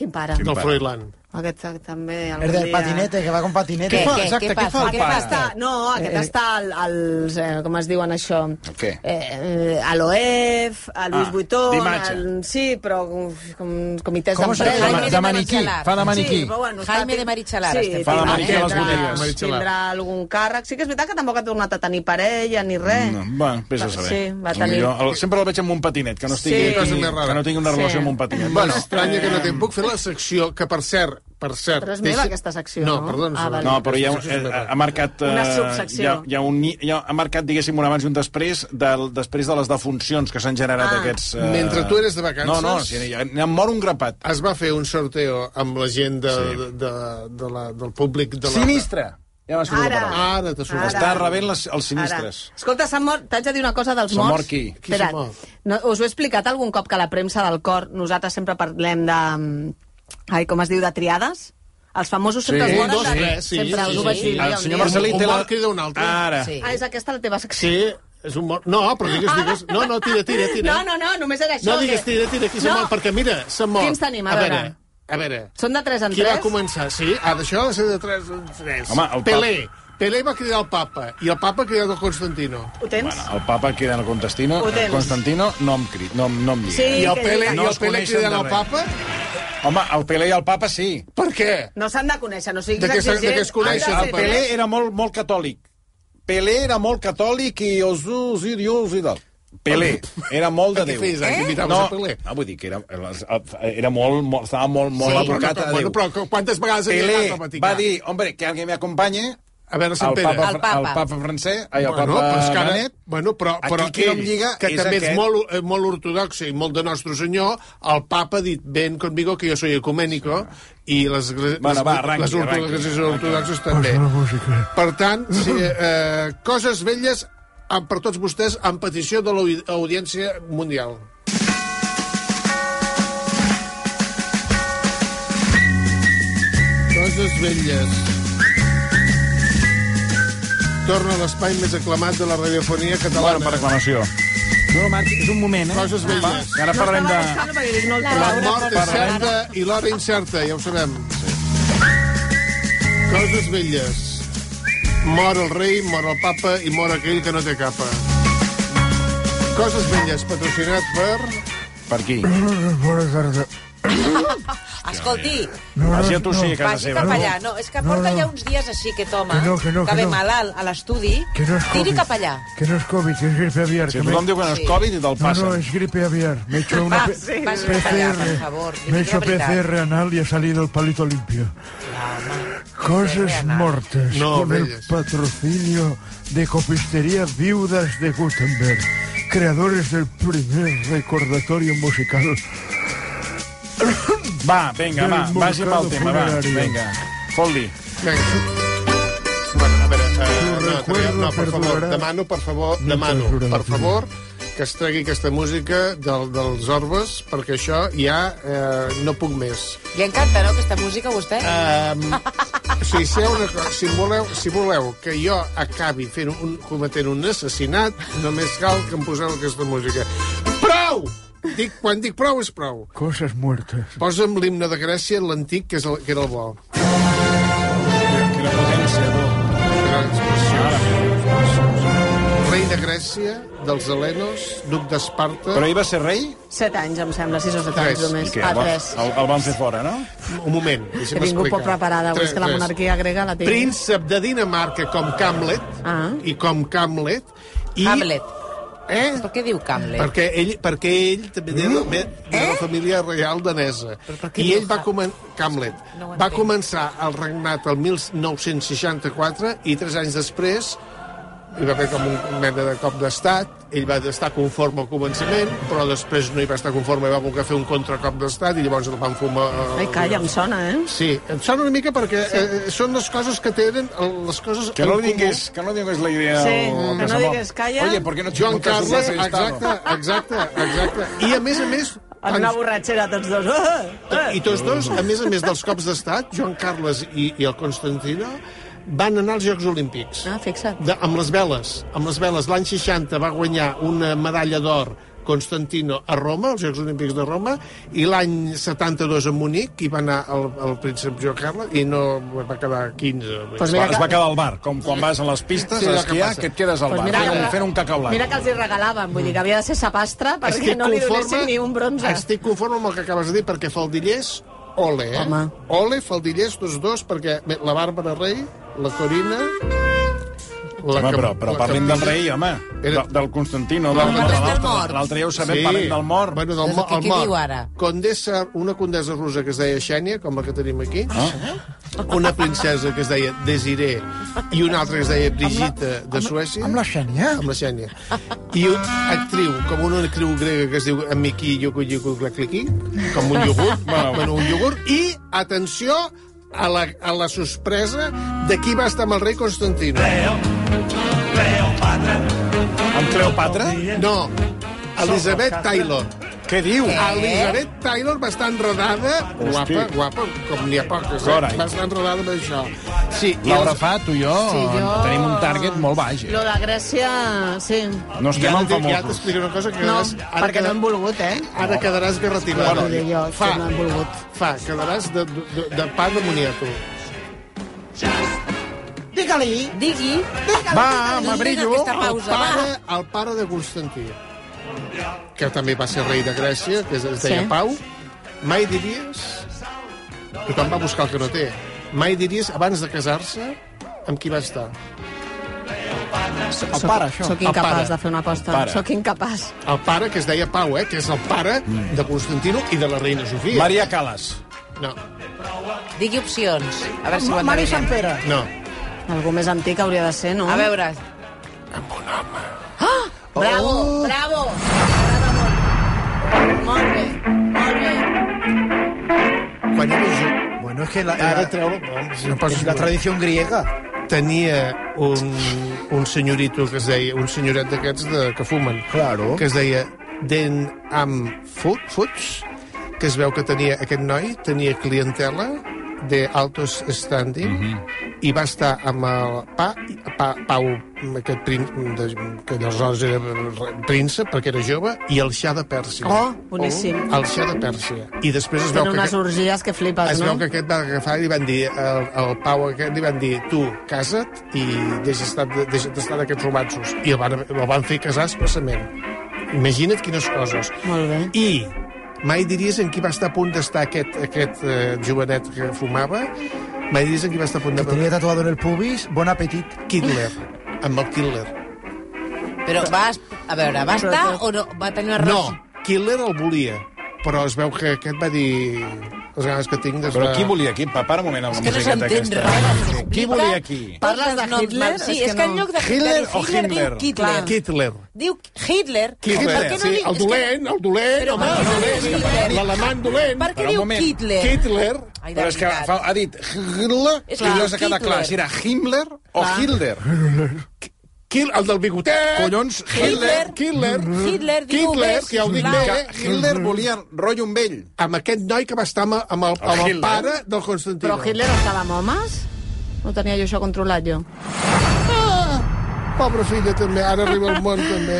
Quin pare?
del Froilán.
Aquest eh, també... algun
El del
dia.
eh?
patinete, que va con patinete.
Què,
Què
fa?
fa?
què,
Exacte,
què
què,
passa?
fa el
Aquest
pare?
està... No, aquest
Eh,
està al, als... Eh, com es diuen això?
El què?
Eh, eh, a l'OEF, a Luis
Ah,
Vuitton...
d'imatge.
al- sí, però uf, com, comitès
Com es diu?
d'empresa...
Jaime
de,
de
de maniquí,
Marichalar.
fa de maniquí.
Sí, però bueno, està-
Jaime de Marichalar,
sí,
estem
Fa de
tindrà-
maniquí a les
tindrà-
botigues.
Marichalar.
Tindrà algun càrrec. Sí que és veritat que tampoc ha tornat a tenir parella ni res.
No, bueno, vés a saber.
Sí, va tenir...
Jo, el, sempre el veig amb un patinet, que no, estigui,
Sí.
que,
Cosa més rara.
que no tingui una
Sí.
relació amb un patinet.
Bueno, estranya que no te'n puc fer la secció, que per cert, per cert...
Però és meva, aquesta secció,
No,
no?
perdó.
Ah, vale.
No, però hi ha,
Aquesta secció és
eh,
meva.
ha marcat... eh,
Una subsecció.
Hi ha, hi ha, un, ni- hi ha, ha marcat, diguéssim, un abans i un després del, després de les defuncions que s'han generat
Ah.
aquests...
Mentre tu eres de vacances-
No, no, si n'hi ha- n'hi ha mort un grapat.
Es va fer un sorteo amb la gent de,
Sí.
de, de, de la, del públic... De la,
Sinistre! Ja m'ha sortit
Ara.
la paraula.
Ara t'ha sortit.
Està rebent les, els
Ara.
sinistres.
Escolta, s'han mort... T'haig de dir una cosa dels
S'ha
morts.
mort qui?
Qui s'ha
Espera't.
mort?
No, us ho he explicat algun cop que a la premsa del cor nosaltres sempre parlem de... mm, Ai, com es diu? De triades? Els famosos sempre
Sí,
es moren
dos,
de...
tres, sí,
sempre
sí,
us ho
sí.
vaig dir.
El
ja un
El senyor
dia.
Marcelí
Un
té la...
mort crida un altre.
Ara.
Sí.
Ah, és aquesta la teva secció.
Sí, és un mort... No, però digues, digues... No, no, tira, tira, tira.
No, no, no, només era això.
No digues,
que-
tira, tira, qui s'ha
No.
mort, perquè mira, s'ha mort.
Quins tenim? A
veure,
veure.
a veure.
Són de tres en
Qui va
tres?
començar? Sí, ah, d'això va ser de 3 en 3.
Home, el
Pelé. Pelé va cridar el papa, i el papa cridar el Constantino.
Ho tens?
El papa crida en el Constantino,
Ho
el
tens.
Constantino no em, cri, no, em- no em lliga.
Sí,
I el
que
Pelé,
lliga.
No
i el
es
Pelé
coneixen
cridant
de
el
res.
papa?
Home, el Pelé i el papa sí.
Per què?
No s'han de conèixer, no siguis
De què s'ha- de
exigent.
què es Ah, coneixen,
Han de
El
ser
el
Pelé
tres.
era molt, molt catòlic. Pelé era molt catòlic i Osús i Dios i tal. Pelé era molt de
Què
Déu.
feies, eh? Que imitaves
No,
a Pelé?
no, vull dir que era, era molt, molt, estava molt, molt
No,
sí,
però,
abocat
però,
a Déu.
però, però quantes vegades havia anat al
Pelé
Vaticà?
va dir, hombre, que alguien me acompanye,
A veure, Sant
el
Pere.
papa,
El
Fra- el
papa.
papa francès, ai, el
Bueno,
papa
però és que ara,
Benet,
bueno, però,
Aquí
però
qui no em
ell,
lliga
que
és
també és
aquest.
molt, eh, molt ortodoxe i molt de Nostre Senyor, el papa ha dit, ven conmigo que yo soy ecuménico, i les, esglésies-
Bueno, va, arranqui,
les ortodoxes
arranqui,
ortodoxes també. Per tant, sí, eh, coses velles amb, per tots vostès en petició de l'audiència mundial. Coses velles. Torna a l'espai més aclamat de la radiofonia catalana.
bueno, per reclamació.
No, Marc, és un moment, eh?
Coses velles.
Ara
No
parlem
estava
de...
buscant perquè dic, no el
La
trobo.
mort és certa i l'hora incerta, ja ho sabem. Coses velles. Mor el rei, mor el papa i mor aquell que no té capa. Coses velles, patrocinat per...
Per aquí.
Bona tarda.
Escolti,
No,
Vas a tossir a casa
vagi
seva.
cap
no?
allà. No, és que
No,
porta
no.
ja uns dies així que toma,
Que no, que no, que
ve
no.
malalt a l'estudi,
Que no és COVID.
tiri cap allà.
Que no és COVID, que és gripe aviar.
Si
que
tothom
me-
diu que no és
Sí.
Covid i te'l
No,
passa.
no, es gripe aviar. Me he hecho una
Va,
P-
sí, vagi
PCR.
para allá, por favor.
Me he
Dime
hecho
la verdad.
PCR anal y ha salido el palito limpio. Cosas
anal.
mortas
No,
con
bellas.
el patrocinio de Copistería Viudas de Gutenberg, creadores del primer recordatorio musical.
Va, vinga, va,
Del
vagi amb el
mercado
tema, va.
funerario.
Vinga, fot-li.
Vinga. Bueno, a veure, eh,
Tu
no, Adrià, no, per favor,
perdurarà.
demano, per favor,
No
demano,
perdurarà.
per favor, que es tregui aquesta música del, dels Orbes, perquè això ja eh, no puc més.
Li encanta, no, aquesta música, a vostè?
Um, si, seu una cosa, si, voleu, si voleu que jo acabi fent un, cometent un assassinat, només cal que em poseu aquesta música. Prou! Dic, quan dic prou, és prou.
Cosas muertas.
Posa'm l'himne de Grècia, l'antic, que, és el, que era el bo.
Quina potència, tu.
Gran expressió.
Ara,
Rei de Grècia, dels Helenos, duc d'Esparta...
Però ell va ser rei?
Set anys, em sembla, sis o set
Tres.
anys només.
Què,
Ah,
el va-
tres.
El, el van fer fora, no?
Un moment, deixa'm
He vingut
explicar.
poc preparada, avui és que la
Tres, tres.
monarquia grega la té.
Príncep de Dinamarca com Camlet,
Ah.
i com Camlet... I,
Hamlet.
Eh?
Per què diu Hamlet?
Perquè ell, perquè ell també ve,
Mm?
de- ve de la família reial danesa.
Eh? per
I
què diu
ell va,
Ham-
comen Hamlet,
No ho
va
entenc.
començar el regnat el 1964 i tres anys després hi va haver com un mena de cop d'estat, ell va estar conforme al començament, però després no hi va estar conforme, va voler fer un contracop d'estat i llavors el van fumar... eh,
Ai, calla, em sona, eh?
Sí, em sona una mica perquè sí. eh, són les coses que tenen, el- les coses...
Que no
en comú.
digues, que no digues la idea.
Sí,
o-
que no
se mor.
digues, calla.
Oye, ¿por qué no te
Joan
juntas
Carles,
un
exacte,
entrevistado?
exacte, exacte. I a més a més...
En una borratxera, tots dos. Ah, ah.
I tots dos, a més a més dels cops d'estat, Joan Carles i, i el Constantino, van anar als Jocs Olímpics.
Ah, fixa't.
De, amb les veles, amb les veles. L'any 60 va guanyar una medalla d'or Constantino a Roma, als Jocs Olímpics de Roma, i l'any 72 a Munic hi va anar el, el príncep Joan Carles i no va quedar 15.
Va,
Pues mira,
es va
que,
quedar al bar, com quan vas a les pistes
Sí,
a
el que
esquiar,
passa.
que et quedes al
Pues
bar,
mira,
fent, un,
ara-
fent un cacau blanc.
mira que els hi regalaven, vull dir que havia de ser sapastre perquè
Estic
no li donessin
conforme-
ni un bronze.
Estic conforme amb el que acabes de dir, perquè faldillers, ole, eh?
Home.
Ole, faldillers, tots dos, perquè bé, la Bàrbara Rei, la Corina... La
Home,
que-
però, però
la
parlem
que-
del rei, home.
Era-
Del, del Constantino,
No,
del-
no,
de
del
mort.
l'altre. L'altre ja ho sabem, parlem del mort.
Bueno, del
Doncs
mort,
què-
el
què
mort.
diu ara?
Condessa, una condessa russa que es deia Xènia, com la que tenim aquí, ah. una princesa que es deia Desiré i una altra que es deia Brigitte de Suècia.
Amb la Xènia?
amb la Xènia. I una actriu, com una actriu grega que es diu Amiki Yuku Yuku Glacliqui, com un iogurt, bueno, bueno, un iogurt, i, atenció, a la, a la sorpresa de qui va estar amb el rei Constantino.
Amb Cleopatra?
No, Elizabeth Taylor.
Què diu?
Eh?
Elizabeth Taylor va estar enredada, guapa, guapa, com n'hi ha poques, eh?
Carai.
va estar enredada amb això. Sí, i
Laura
els-
Fa, tu i jo,
jo-
tenim un target molt baix.
Lo
Eh?
de Grècia, sí.
No
Ja,
estem en
t'he- ja
famosos.
t'explico una cosa que
No,
quedaràs- ara
perquè no
queda-
hem volgut, eh?
Ara quedaràs garrativada.
Bueno, Vull dir jo,
fa,
que no han volgut.
Fa, quedaràs de, de, de pa de moniato.
Digue-li.
Digui,
Va, home,
digui
brillo.
aquesta pausa,
Pare,
va.
el pare de Constantí, que també va ser rei de Grècia, que es es deia
Sí.
sí. Pau, mai diries... Tothom va buscar el que no té. Mai diries, abans de casar-se, amb qui va estar.
El pare, això.
Sóc
Apara.
incapaç de fer una aposta.
Para.
Sóc incapaç.
El pare, que es deia Pau, eh? que és el pare de Constantino i de la reina Sofia.
Maria Calas.
No,
Digui opcions. A veure si ho
Ma- Mari Sant
endevinem.
Pere.
no.
Algú més antic hauria de ser, no?
A veure... Amb un home. Ah! Bravo,
Oh.
bravo! Molt bé, molt bé.
Quan era jo,
Bueno, es que la,
Ara
la,
treu-lo, no
es la
posis-
tradición griega.
tenia un, un senyorito que es deia, un senyoret d'aquests de, que fumen,
Claro.
que es deia Den Am Fut, Futs, que es veu que tenia aquest noi, tenia clientela de altos standing mm -hmm. i va estar amb el pa, pa, Pau, aquest prín, de, que aleshores era príncep perquè era jove, i el xà de Pèrsia.
Oh, boníssim.
El xà de Pèrsia. I després es veu
Tenen
que...
unes orgies que flipes,
Es
no?
veu que aquest va agafar i li van dir, el, el Pau aquest li van dir, tu, casa't i deixa estar, deixa estar d'aquests romansos. I el van, el van fer casar expressament. Imagina't quines coses.
Molt bé.
I Mai diries en qui va estar a punt d'estar aquest, aquest eh, jovenet que fumava. Mai diries en qui va estar a punt de...
Tenia tatuado en el pubis, bon apetit.
Hitler. Amb el Hitler.
Però vas... A veure, va estar o no? Va tenir una
No,
relació...
Hitler el volia, però es veu que aquest va dir les ganes que tinc... Des
Però
de-
qui volia aquí? Pa- Para un moment amb la
que no
musiqueta
s'entén
aquesta.
res.
Qui volia aquí?
Parles de
Parles de
Hitler?
Hitler?
Sí,
És
és,
que
que, en
no.
lloc de
Hitler o
Hitler,
Himmler?
diu Hitler.
Hitler.
Diu Hitler.
Hitler,
Per què no
sí,
diu-
el
és que-
dolent, el dolent,
Però
home,
per
el
què no
dolent,
diu Hitler?
l'alemany dolent.
Per què
Però un
diu
moment.
Hitler?
Hitler.
Ai, de
Però és que
veritat.
fa, ha dit Hitler
És
i no s'ha
clar,
quedat clar
Hitler.
si era Himmler o Hitler.
Hitler, el del bigotet.
Collons, Hitler...
Hitler.
Hitler.
Hitler, diu
Hitler,
més.
que ja ho dic
Clar.
bé,
Que
eh?
Hitler volia rotllo amb ell.
amb aquest noi que va estar amb, amb el, amb el
Hitler.
pare del Constantino.
Però Hitler estava amb homes? No tenia jo això controlat, jo.
Pobre filla, també. Ara arriba al món, també.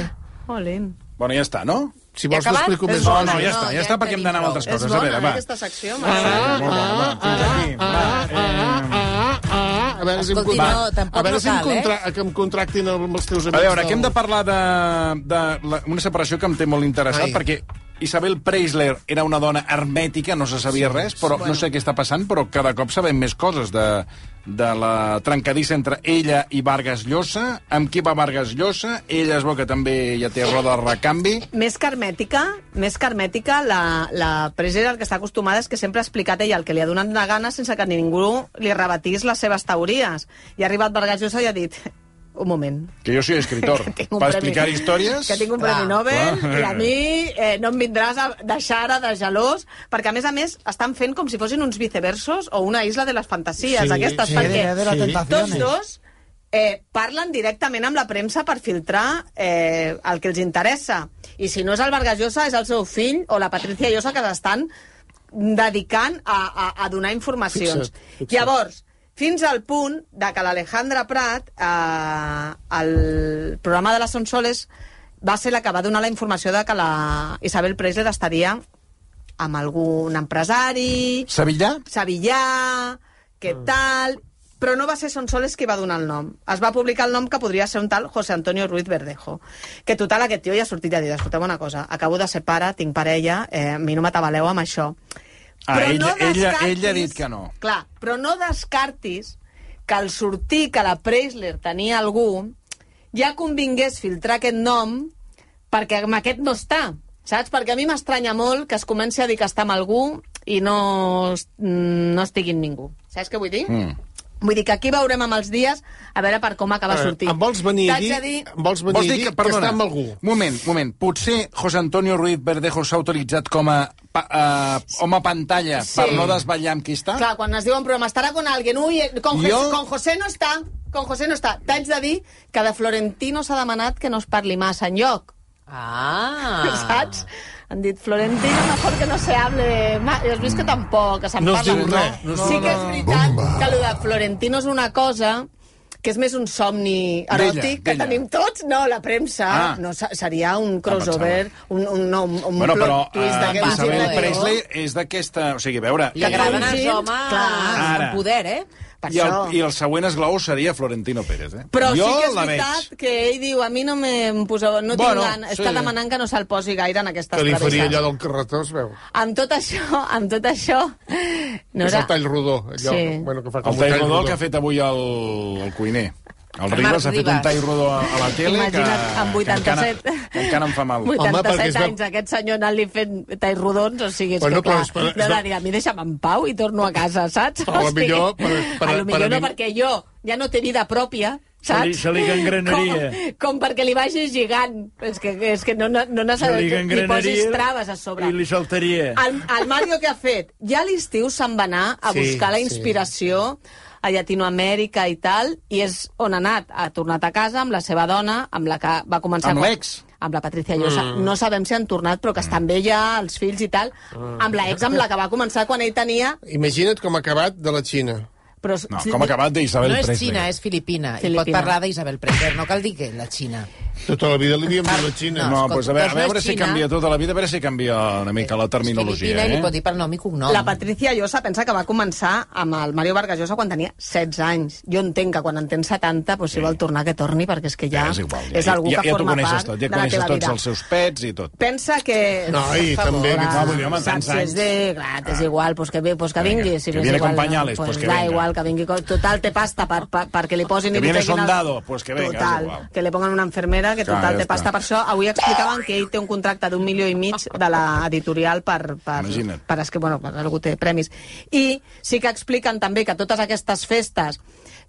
Jolín.
Bueno, ja està, no?
Si
Ja
vols
acabat?
t'explico
És
més.
No,
bona,
no, ja
no,
està,
ja
ja està
en
perquè hem
tenim
d'anar amb
prou.
altres
És
coses. A
bona,
veure,
eh,
va.
aquesta secció.
Ah, molt bona, va, fins aquí. Va, eh,
Ah, a veure si, em,
Escolti,
contra-
no, tampoc
a veure
no
si em,
cal, eh?
contra... que em contractin amb els teus
A
amics.
veure, aquí hem
del-
de parlar de, de la, una separació que em té molt interessat,
Ai.
Ai. perquè Isabel Preisler era una dona hermètica, no se sabia sí, res, però bueno. no sé què està passant, però cada cop sabem més coses de, de la trencadissa entre ella i Vargas Llosa, amb qui va Vargas Llosa, ella es veu que també ja té roda de recanvi,
Més que hermètica, més que hermètica, la, la Presley el que està acostumada és que sempre ha explicat ella el que li ha donat la gana sense que ningú li rebatís les seves teories. I ha arribat Vargas Llosa i ha dit un moment.
que jo soy escritor,
que tinc un
per
premi-
explicar històries... Ah.
Que tinc un
Clar.
premi Nobel
Clar.
i a mi eh, no em vindràs a deixar ara de gelós, perquè a més a més estan fent com si fossin uns viceversos o una isla de les fantasies
Sí,
aquestes,
sí,
perquè
de la
tots
tentación.
dos eh, parlen directament amb la premsa per filtrar eh, el que els interessa. I si no és el Vargas Llosa, és el seu fill o la Patricia Llosa que s'estan dedicant a, a, a donar informacions.
Fixa't, fixa't.
Llavors, fins al punt de que l'Alejandra Prat, eh, al programa de les Sonsoles, va ser la que va donar la informació de que la Isabel Presley estaria amb algun empresari,
Sevillà?
Sevillà, què
Ah.
tal... Però no va ser Sonsoles qui va donar el nom. Es va publicar el nom que podria ser un tal José Antonio Ruiz Verdejo. Que total, aquest tio ja ha sortit i ha dit, escolteu una cosa, acabo de ser pare, tinc parella, eh, a mi no m'atabaleu amb això.
Ah, ella- ella-
descartis-
ella ha dit que no.
Clar, però no descartis que al sortir que la Preisler tenia algú, ja convingués filtrar aquest nom perquè amb aquest no està, saps? Perquè a mi m'estranya molt que es comenci a dir que està amb algú i no, es- mm, no estigui amb ningú. Saps què vull dir?
Mm.
Vull dir que aquí veurem amb els dies a veure per com acaba
Eh,
sortint.
Em vols venir a
T'haig
dir,
de dir...
em vols venir
Vols
a
dir que, perdona,
està amb algú?
Moment, moment. Potser José Antonio Ruiz Verdejo s'ha autoritzat com a pa, uh, home pantalla
Sí.
sí. per no desvetllar amb qui està?
Clar, quan es diu en programa, estarà con alguien, ui, eh, con, jo...
Jo-
con José no està, con José no està. T'haig de dir que de Florentino s'ha demanat que no es parli massa enlloc.
Ah.
Ah. Saps? Han dit, Florentino, mejor que no se hable... ma-". I has vist que tampoc, que se'n
No es
parla
diu
molt.
res, no es
sí
diu
que és
res.
veritat que el de Florentino és una cosa que és més un somni eròtic que
d'ella.
tenim tots. No, la premsa
Ah.
no, se- seria un crossover, un, un, no, un, un
Bueno,
plot
però
twist
eh,
d'aquest
Isabel
eh?
giratori.
Presley és d'aquesta... O sigui, a veure...
Li agraden els
Clar.
homes
Clar.
amb poder, eh?
Per
I el,
això.
I el següent esglaó seria Florentino Pérez, eh?
Però
jo
sí que és
la
veritat
veig.
que ell diu, a mi no em poseu... No
Bueno,
tinc gana.
sí.
Està demanant que no se'l posi gaire en aquestes
Que li faria
travesses.
allò del carretó, es veu?
Amb tot això, amb tot això...
No és
Nora,
el tall rodó, allò.
Sí.
Bueno, que fa com
El tall rodó que ha fet avui el, el cuiner. El
Marc
Ribas ha fet un
Ribas.
tall rodó a, a la tele
Imagina't,
que,
amb
que,
87...
encara, que encara em fa mal.
87
Home, perquè es veu-
anys, aquest senyor anant-li fent talls rodons, o sigui, és
Bueno,
que clar,
clar, espera,
no
es veu-
anirà, a mi deixa'm en pau i torno a casa, saps?
Però a lo
O sigui,
millor, per- per-
a lo millor
per a
no,
mi-
perquè jo ja no té vida pròpia,
Se li-
saps?
se li gangrenaria.
Com, com perquè li vagis gigant. És que, és que no, no,
Se
no
li
necessito que li
gangrenaria
posis traves a sobre.
i li saltaria.
El, el Mario què ha fet? Ja a l'estiu se'n va anar a
Sí,
buscar la
sí.
inspiració a Llatinoamèrica i tal, i és on ha anat. Ha tornat a casa amb la seva dona, amb la que va començar...
Amb
quan-
l'ex?
Amb la Patricia Llosa. Mm. No sabem si han tornat, però que estan bé ja, els fills i tal. Mm. Amb la ex amb la que va començar quan ell tenia...
Imagina't com ha acabat de la Xina.
Però...
No, com ha acabat d'Isabel
No és
Presley.
Xina, eh? és Filipina. I
Filipina.
pot parlar d'Isabel Presley. No cal dir que la Xina.
Tota la vida li havíem dit la
No,
Xina.
no
escolta,
doncs a veure,
doncs
a
no és
veure si
Xina.
canvia tota la vida, a veure si canvia una mica la terminologia.
Filipina i li pot
Eh?
dir per nom i cognom.
La Patricia Llosa pensa que va començar amb el Mario Vargas Llosa quan tenia 16 anys. Jo entenc que quan en tens 70, doncs, si vol tornar, que torni, perquè és que ja,
és igual, ja,
és algú
ja,
que
ja t'ho
forma
coneixes
part
tot, ja
de la
coneixes
teva
tots
vida.
els seus pets i tot.
Pensa que...
No, i
per ah,
també, que fa,
vull dir, home, amb tants
saps, és
anys.
de... Clar, t'és igual, pues que, ve, pues que
Vinga,
vingui. Si
que
m'és
viene
igual,
con pañales,
no,
pues que
da
venga.
igual, que vingui. con- Total, te pasta per, per, perquè li posin...
Que
i li
viene
treguin el-
soldado, pues que venga, és
Total,
igual.
que li pongan una enfermera, que
Clar,
total,
ja
te
està.
pasta per això. Avui explicaven que ell té un contracte d'un milió i mig de l'editorial per, per,
Imagina't.
per, es que, bueno, per algú té premis. I sí que expliquen també que totes aquestes festes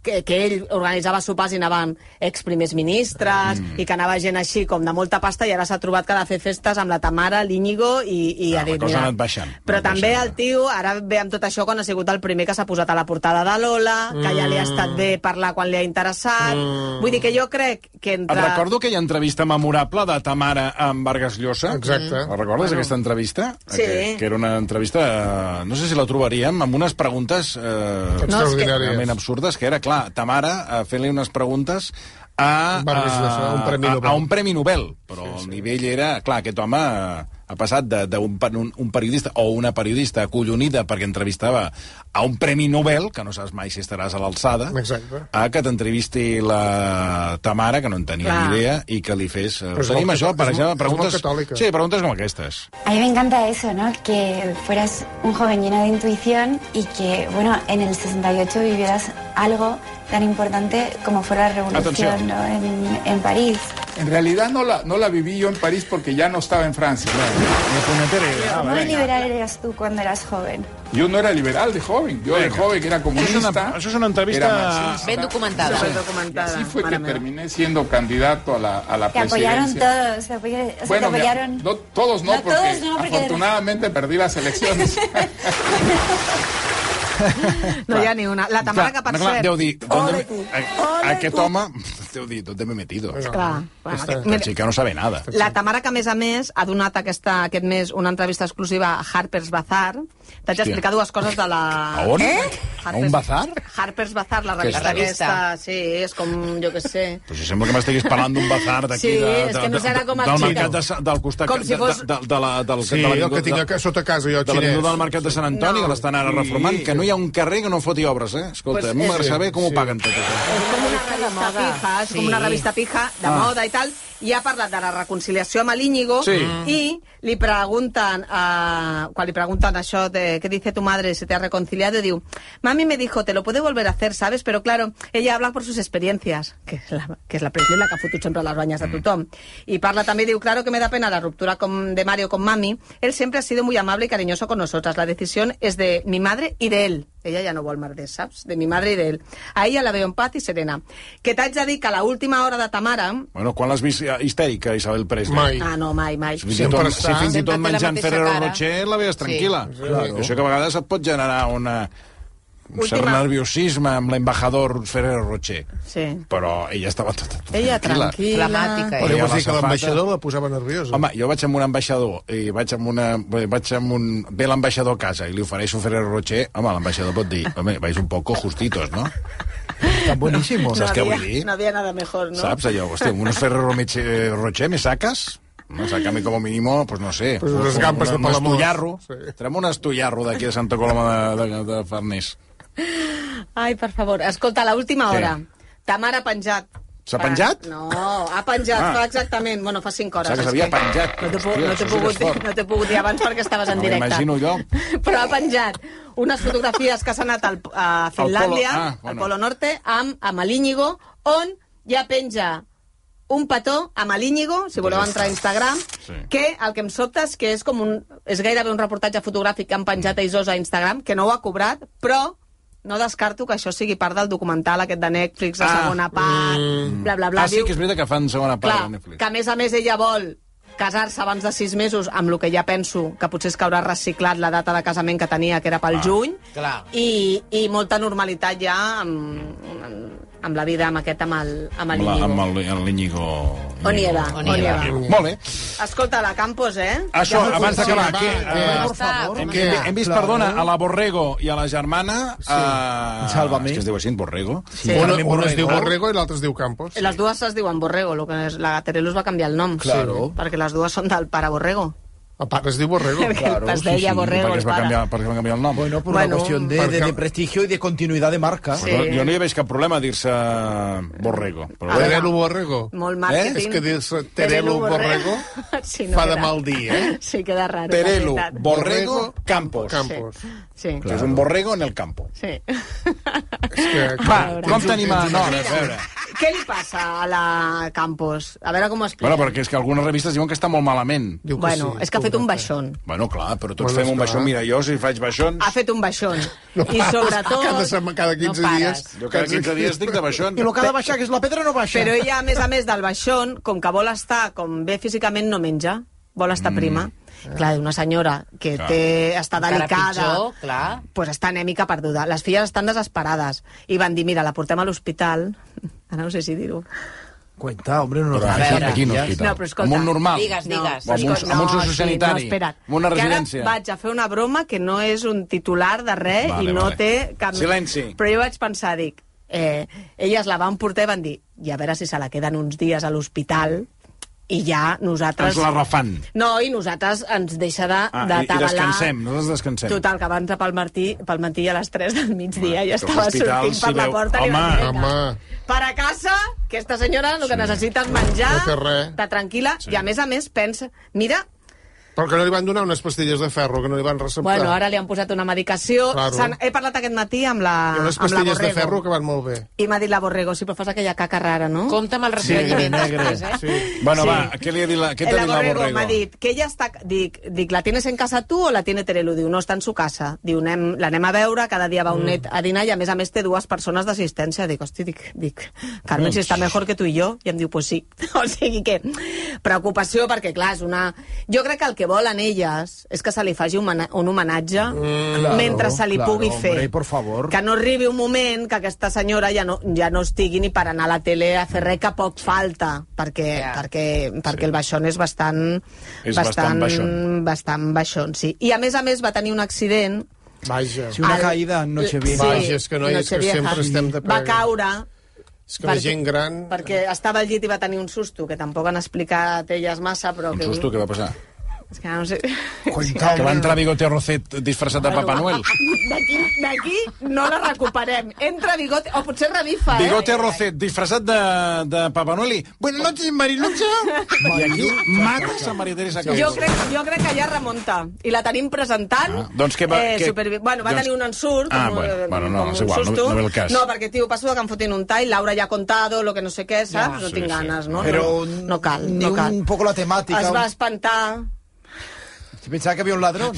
que, que ell organitzava sopars i anaven exprimers ministres mm. i que anava gent així com de molta pasta i ara s'ha trobat que ha de fer festes amb la Tamara, l'Íñigo i, i
Ah,
ha
la
dit,
cosa ha
mira,
anat baixant,
Però
anat
també
baixant,
el tio ara ve amb tot això quan ha sigut el primer que s'ha posat a la portada de Lola, que ja li
Mm.
ha estat bé parlar quan li ha interessat. Vull dir que jo crec que
Et
entre...
recordo aquella entrevista memorable de Tamara amb Vargas Llosa. Mm.
Exacte.
La recordes, aquesta entrevista?
Sí.
Que, que era una entrevista, eh, no sé si la trobaríem, amb unes preguntes eh,
No, és que-
Extraordinàries.
realment absurdes, que era, clar, Tamara eh, fent-li unes preguntes a,
Vargas Llosa, a un premi
a,
Nobel.
a un premi Nobel, però sí, sí. el nivell era... Clar, aquest home eh, ha passat de- d'un per- un, un periodista o una periodista acollonida perquè entrevistava a un premi Nobel, que no saps mai si estaràs a l'alçada,
Exacte.
a que t'entrevisti la Tamara, que no en tenia
Clar.
ni idea, i que li fes... Eh,
Però és
tenim
molt
això,
catò-
per
és molt-
exemple,
és
preguntes...
molt catòlica.
Sí, preguntes com aquestes.
A mí me encanta eso, ¿no? Que fueras un joven lleno de intuición y que, bueno, en el 68 vivieras algo tan importante como fuera la
Atención.
revolución ¿no? en, en París.
En realidad no la, no la viví yo en París porque ya no estaba en Francia.
¿Cómo de liberal eras tú cuando eras joven?
Yo no era liberal de joven, yo de
Venga.
joven era
Eso es
comunista.
una- eso es una entrevista-
era marxista.
Ben documentada.
Super documentada.
Así fue
mare
que
meva.
terminé siendo candidato a la, a la
Te apoyaron
presidencia.
todos, te apoyaron, o sea,
Bueno,
te
me-
apoyaron.
no, todos no,
No,
porque
todos no, porque-
afortunadamente perdí las elecciones.
No hi ha ni una. La Tamara, que
Clar,
per
clar,
cert...
Deu dir,
Ole
¿dónde,
tu.
me- a- aquest home, deu dir, ¿dónde me he metido?
Clar, bueno,
Aquesta-
aquest,
La
mira,
chica no sabe nada.
La Tamara, que a més a més ha donat aquesta, aquest mes una entrevista exclusiva a Harper's Bazaar, t'haig d'explicar dues coses de la... Eh?
A on? A un bazar?
Harper's Bazaar, la
Què és això?
revista, aquesta, sí, és com, jo que sé...
Però si sembla que m'estiguis parlant d'un bazar d'aquí
Sí,
de,
és
de,
que no
de-
serà com
del
aquí.
mercat de, Sa- del costat
Com si fos-
de, de, de, la, del,
Sí,
de l'avinguda-
el que tinc a sota casa, jo,
de l'avinguda
xinès.
del mercat de Sant Antoni,
No.
que l'estan ara reformant, que no hi ha un carrer que no foti obres, eh? Escolta,
Pues
pues
és-
m'agrada saber com
sí.
ho paguen tot això.
És com una revista
moda.
pija, és com
Sí.
una revista pija de
Ah.
moda i tal, i ha parlat de la reconciliació amb l'Íñigo,
Sí.
i li pregunten, eh, quan li pregunten això de què dice tu madre si te ha reconciliado, diu, mami me dijo, te lo puede volver a hacer, ¿sabes? Pero claro, ella habla por sus experiencias, que és la, que és la Presley, la que ha fotut sempre les banyes de tothom. I parla també, diu, claro que me da pena la ruptura con, de Mario con mami, él siempre ha sido muy amable y cariñoso con nosotras, la decisión es de mi madre y de él. Ella ja no vol merders, saps? De mi madre i d'ell. A ella la veo en paz i serena. Que t'haig de dir que a l'última hora de ta mare...
Bueno, quan l'has vist eh, histèrica, Isabel Presley?
Mai.
Ah, no, mai, mai.
Si fins i
Sempre
tot,
està-
si fins i
Sempre té
tot
la
menjant
mateixa
Ferrero
cara.
Rocher la veies tranquil·la.
Sí.
Claro. Això que a vegades et pot generar una, un cert
Última.
nerviosisme amb l'embajador Ferrero Rocher.
Sí.
Però ella estava tota tranquil·la.
Ella tranquil·la.
Flemàtica,
Però
Ella,
jo vaig
la
dir que l'ambaixador
safata.
la posava nerviosa.
Home, jo vaig amb un ambaixador i vaig amb una... bé, Vaig amb un... Ve l'ambaixador a casa i li ofereixo Ferrero Rocher. Home, l'ambaixador pot dir... Home, vais un poco justitos, no?
Tan bonísimo.
Saps què
havia-
vull dir?
No havia nada mejor, no?
Saps allò? Hòstia, unos Ferrero Meche- eh, Rocher me sacas? No, sacame como mínimo, oh, pues no sé.
Pues unes gambes de
un, un
Palamós.
estollarro.
Sí.
Sí. Trem un estollarro d'aquí de Santa Coloma de, de, de Farners.
Ai, per favor, escolta, a l'última
Què?
hora. Ta mare ha penjat.
S'ha penjat?
No, ha penjat,
Ah.
fa exactament, bueno, fa 5 hores.
Pensava que
és
s'havia penjat.
No t'he pu-
Hòstia,
no
això
t'he
sí que és
pogut, dir-
fort.
no t'he pogut dir abans perquè estaves en
No
directe.
m'imagino jo.
Però ha penjat unes fotografies que s'ha anat al, a Finlàndia,
ah,
al Polo,
bueno.
Norte, amb, amb l'Íñigo, on ja penja un petó amb l'Íñigo, si voleu entrar a Instagram,
Sí.
sí. que el que em sobta és que és, com un, és gairebé un reportatge fotogràfic que han
Mm.
penjat a Isos a Instagram, que no ho ha cobrat, però no descarto que això sigui part del documental aquest de Netflix, la
Ah,
segona part, bla, bla, bla.
Ah, sí,
Diu-
que és veritat que fan segona part
Clar,
de Netflix.
que a més a més ella vol casar-se abans de sis mesos amb el que ja penso que potser és que haurà reciclat la data de casament que tenia, que era pel ah, juny,
clar.
I, i molta normalitat ja amb, amb amb la vida, amb aquest, amb el, amb el
Amb, la,
Íñigo.
amb el- el l'Iñigo...
O nieva,
Íñigo.
o nieva.
Molt bé.
Escolta, la Campos, eh?
Això,
Ja no
abans
funciona.
d'acabar, que, eh,
Por favor.
Hem, hem, hem vist, perdona, a la Borrego i a la germana... Sí. A...
Sálvame.
És que es diu així, Borrego?
Sí.
Uno, uno es diu Borrego i l'altre es diu Campos.
Les dues es diuen Borrego, lo que és, la Gaterelus va canviar el nom.
Claro. Oh,
Sí, perquè les dues són del pare Borrego.
El pare es diu Borrego.
El pare es deia Borrego,
perquè
el
es va
pare.
canviar, perquè es va canviar el nom.
Bueno, por
Bueno,
una cuestión de,
perquè-
de- de prestigio y de continuidad de marca.
Sí. Jo no hi veig cap problema a dir-se Borrego. Però...
veure. Terelu Borrego.
Molt màrqueting.
Eh? És que dius Terelu Borrego
sí,
fa de
queda-
mal dia, eh?
Sí, queda raro. la
Terelu,
veritat.
Borrego, Campos. Campos.
Sí. sí.
Claro. És un borrego en el campo.
Sí. Ah,
Va, com tenim a... No, a
Mira,
veure.
Què li passa a la Campos? A veure com ho explica.
Bueno, perquè és que algunes revistes diuen que està molt malament.
bueno és que ha fet un baixón.
Bueno, clar, però tots
Bueno,
fem un
esclar.
baixón. Mira, jo si faig baixons...
Ha fet un baixón.
No
I
pares.
sobretot...
Cada setmana, cada 15 dies.
Jo cada 15 dies estic de baixón.
I el que ha de baixar, que és la pedra, no baixa.
Però ella, a més a més del baixón, com que vol estar com bé físicament, no menja. Vol estar prima. Clar, una senyora que
Clar.
té, està
Encara
delicada,
pitjor, clar.
pues està anèmica perduda. Les filles estan desesperades i van dir, mira, la portem a l'hospital. Ara no sé si dir-ho.
Cuenta, hombre, no lo
Però
hagas.
això d'aquí no es
Ya.
quita.
No, però escolta,
Amb un normal.
Digues, digues.
O amb un, amb un sociosanitari.
No, espera't.
amb una
Que
residència.
Ara vaig a fer una broma que no és un titular de res
Vale,
i no
vale.
té cap...
Silenci.
Però jo vaig pensar, dic, eh, elles la van portar i van dir, i a veure si se la queden uns dies a l'hospital i ja nosaltres...
Ens la refan.
No, i nosaltres ens deixa de,
Ah,
de
i, I descansem, nosaltres descansem.
Total, que abans pel matí, pel matí a les 3 del migdia ja
que
estava
l'hospital,
sortint per
si
la
veu-
porta. i
Home,
vaig dir, "Vinga,
home.
Per a casa, aquesta senyora el que necessita és menjar,
No té res.
estar tranquil·la, i a més a més pensa... Mira,
Però que no li van donar unes pastilles de ferro, que no li van receptar.
bueno, ara li han posat una medicació...
Claro.
s'han- He parlat aquest matí amb la,
Hi ha unes
amb la
pastilles de
Borrego.
ferro que van molt bé.
I m'ha dit la Borrego, si però fas aquella caca rara, no? Compte amb el
eh?
Bueno, va, què li ha dit la, què
El
t'ha dit la
Borrego
Borrego?
m'ha dit que ella està... Dic, dic, la tienes en casa tu o la tiene Terelu? Diu, no, està en su casa. Diu, anem, l'anem a veure, cada dia va un
Mm.
net a dinar i a més a més té dues persones d'assistència. Dic, hosti, dic, dic, Carmen, si està
Doncs.
mejor que tu i jo. I em diu, pues sí. o sigui que, preocupació, perquè clar, és una... Jo crec que el que volen elles és que se li faci un, mana- un homenatge
Mm, Claro,
mentre se li
claro,
pugui fer.
Hombre, por favor.
Que no arribi un moment que aquesta senyora ja no, ja no estigui ni per anar a la tele a fer res que poc falta, perquè, perquè, perquè el baixón és bastant...
És bastant baixón.
Bastant baixón, sí. I a més a més va tenir un accident...
Vaja.
Si una
Al-
caída en Nochevieja.
Vaja, és que, noies, que
Nochevieja.
sempre estem de
Va
pregui.
caure...
És que la gent gran...
Perquè estava al llit i va tenir un susto, que tampoc han explicat elles massa, però...
Un
que...
susto, què va passar?
És que ara no sé...
Que va entrar Bigote Rocet disfressat de Papa Noel.
D'aquí d'aquí no la recuperem. Entra Bigote, o potser revifa, eh?
Bigote Rocet disfressat de, de Papa Noel i... Buenas noches, Marilucha. I aquí mates a Maria Teresa Cabello.
Jo crec, jo crec que ja remunta. I la tenim presentant.
Ah, doncs què va-
Eh,
què-
supervi- Bueno, va
doncs-
tenir un ensurt.
Ah,
com,
bueno,
eh,
bueno, no,
com
és
un
igual, no-
susto.
no ve el cas.
No, perquè, tio, passo que em fotin un tall, Laura ja ha contado, lo que no sé què, saps? no
sí,
tinc
sí.
ganes, no?
Però
no, no cal,
ni
no cal.
un poco la temática.
Es va espantar.
Si pensaba que había un ladrón.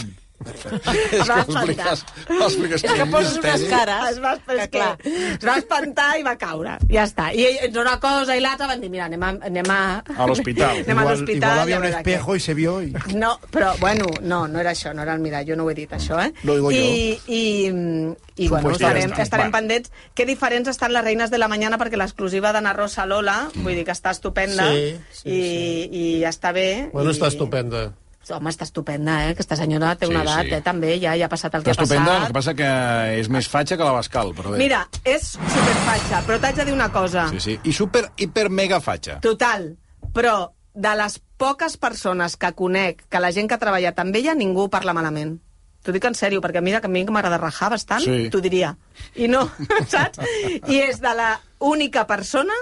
Es va espantar.
expliques
És que poses
misteri.
unes cares. Es va, és que, es va espantar i va caure. Ja està. I ells una cosa i l'altra van dir, mira, anem a... Anem a,
A l'hospital.
Anem a
Igual,
l'hospital.
igual
i a
había un
veure què.
espejo y se vio. Y...
No, però, bueno, no, no era això, no era el mirall, jo no ho he dit, això, eh?
Lo digo
I, i, mm, i bueno,
Supuesto.
estarem,
Ja està.
estarem
Va.
pendents. Que diferents estan les Reines de la Mañana, perquè l'exclusiva d'Anna Rosa Lola, vull dir que està estupenda,
Sí, sí,
i, i està bé.
Bueno,
i...
està estupenda.
Home, està estupenda, eh? Aquesta senyora té
Sí,
una edat,
sí.
eh? També, ja, ja ha passat el que
Està
ha passat.
estupenda, el que passa que és més fatxa que la Bascal, però bé.
Mira, és superfatxa, però t'haig de dir una cosa.
Sí, sí. I super, hiper, mega fatxa.
Total, però de les poques persones que conec, que la gent que ha treballat amb ella, ningú parla malament. T'ho dic en sèrio, perquè mira que a mi que m'agrada rajar bastant,
Sí.
t'ho diria. I no, saps? I és de la única persona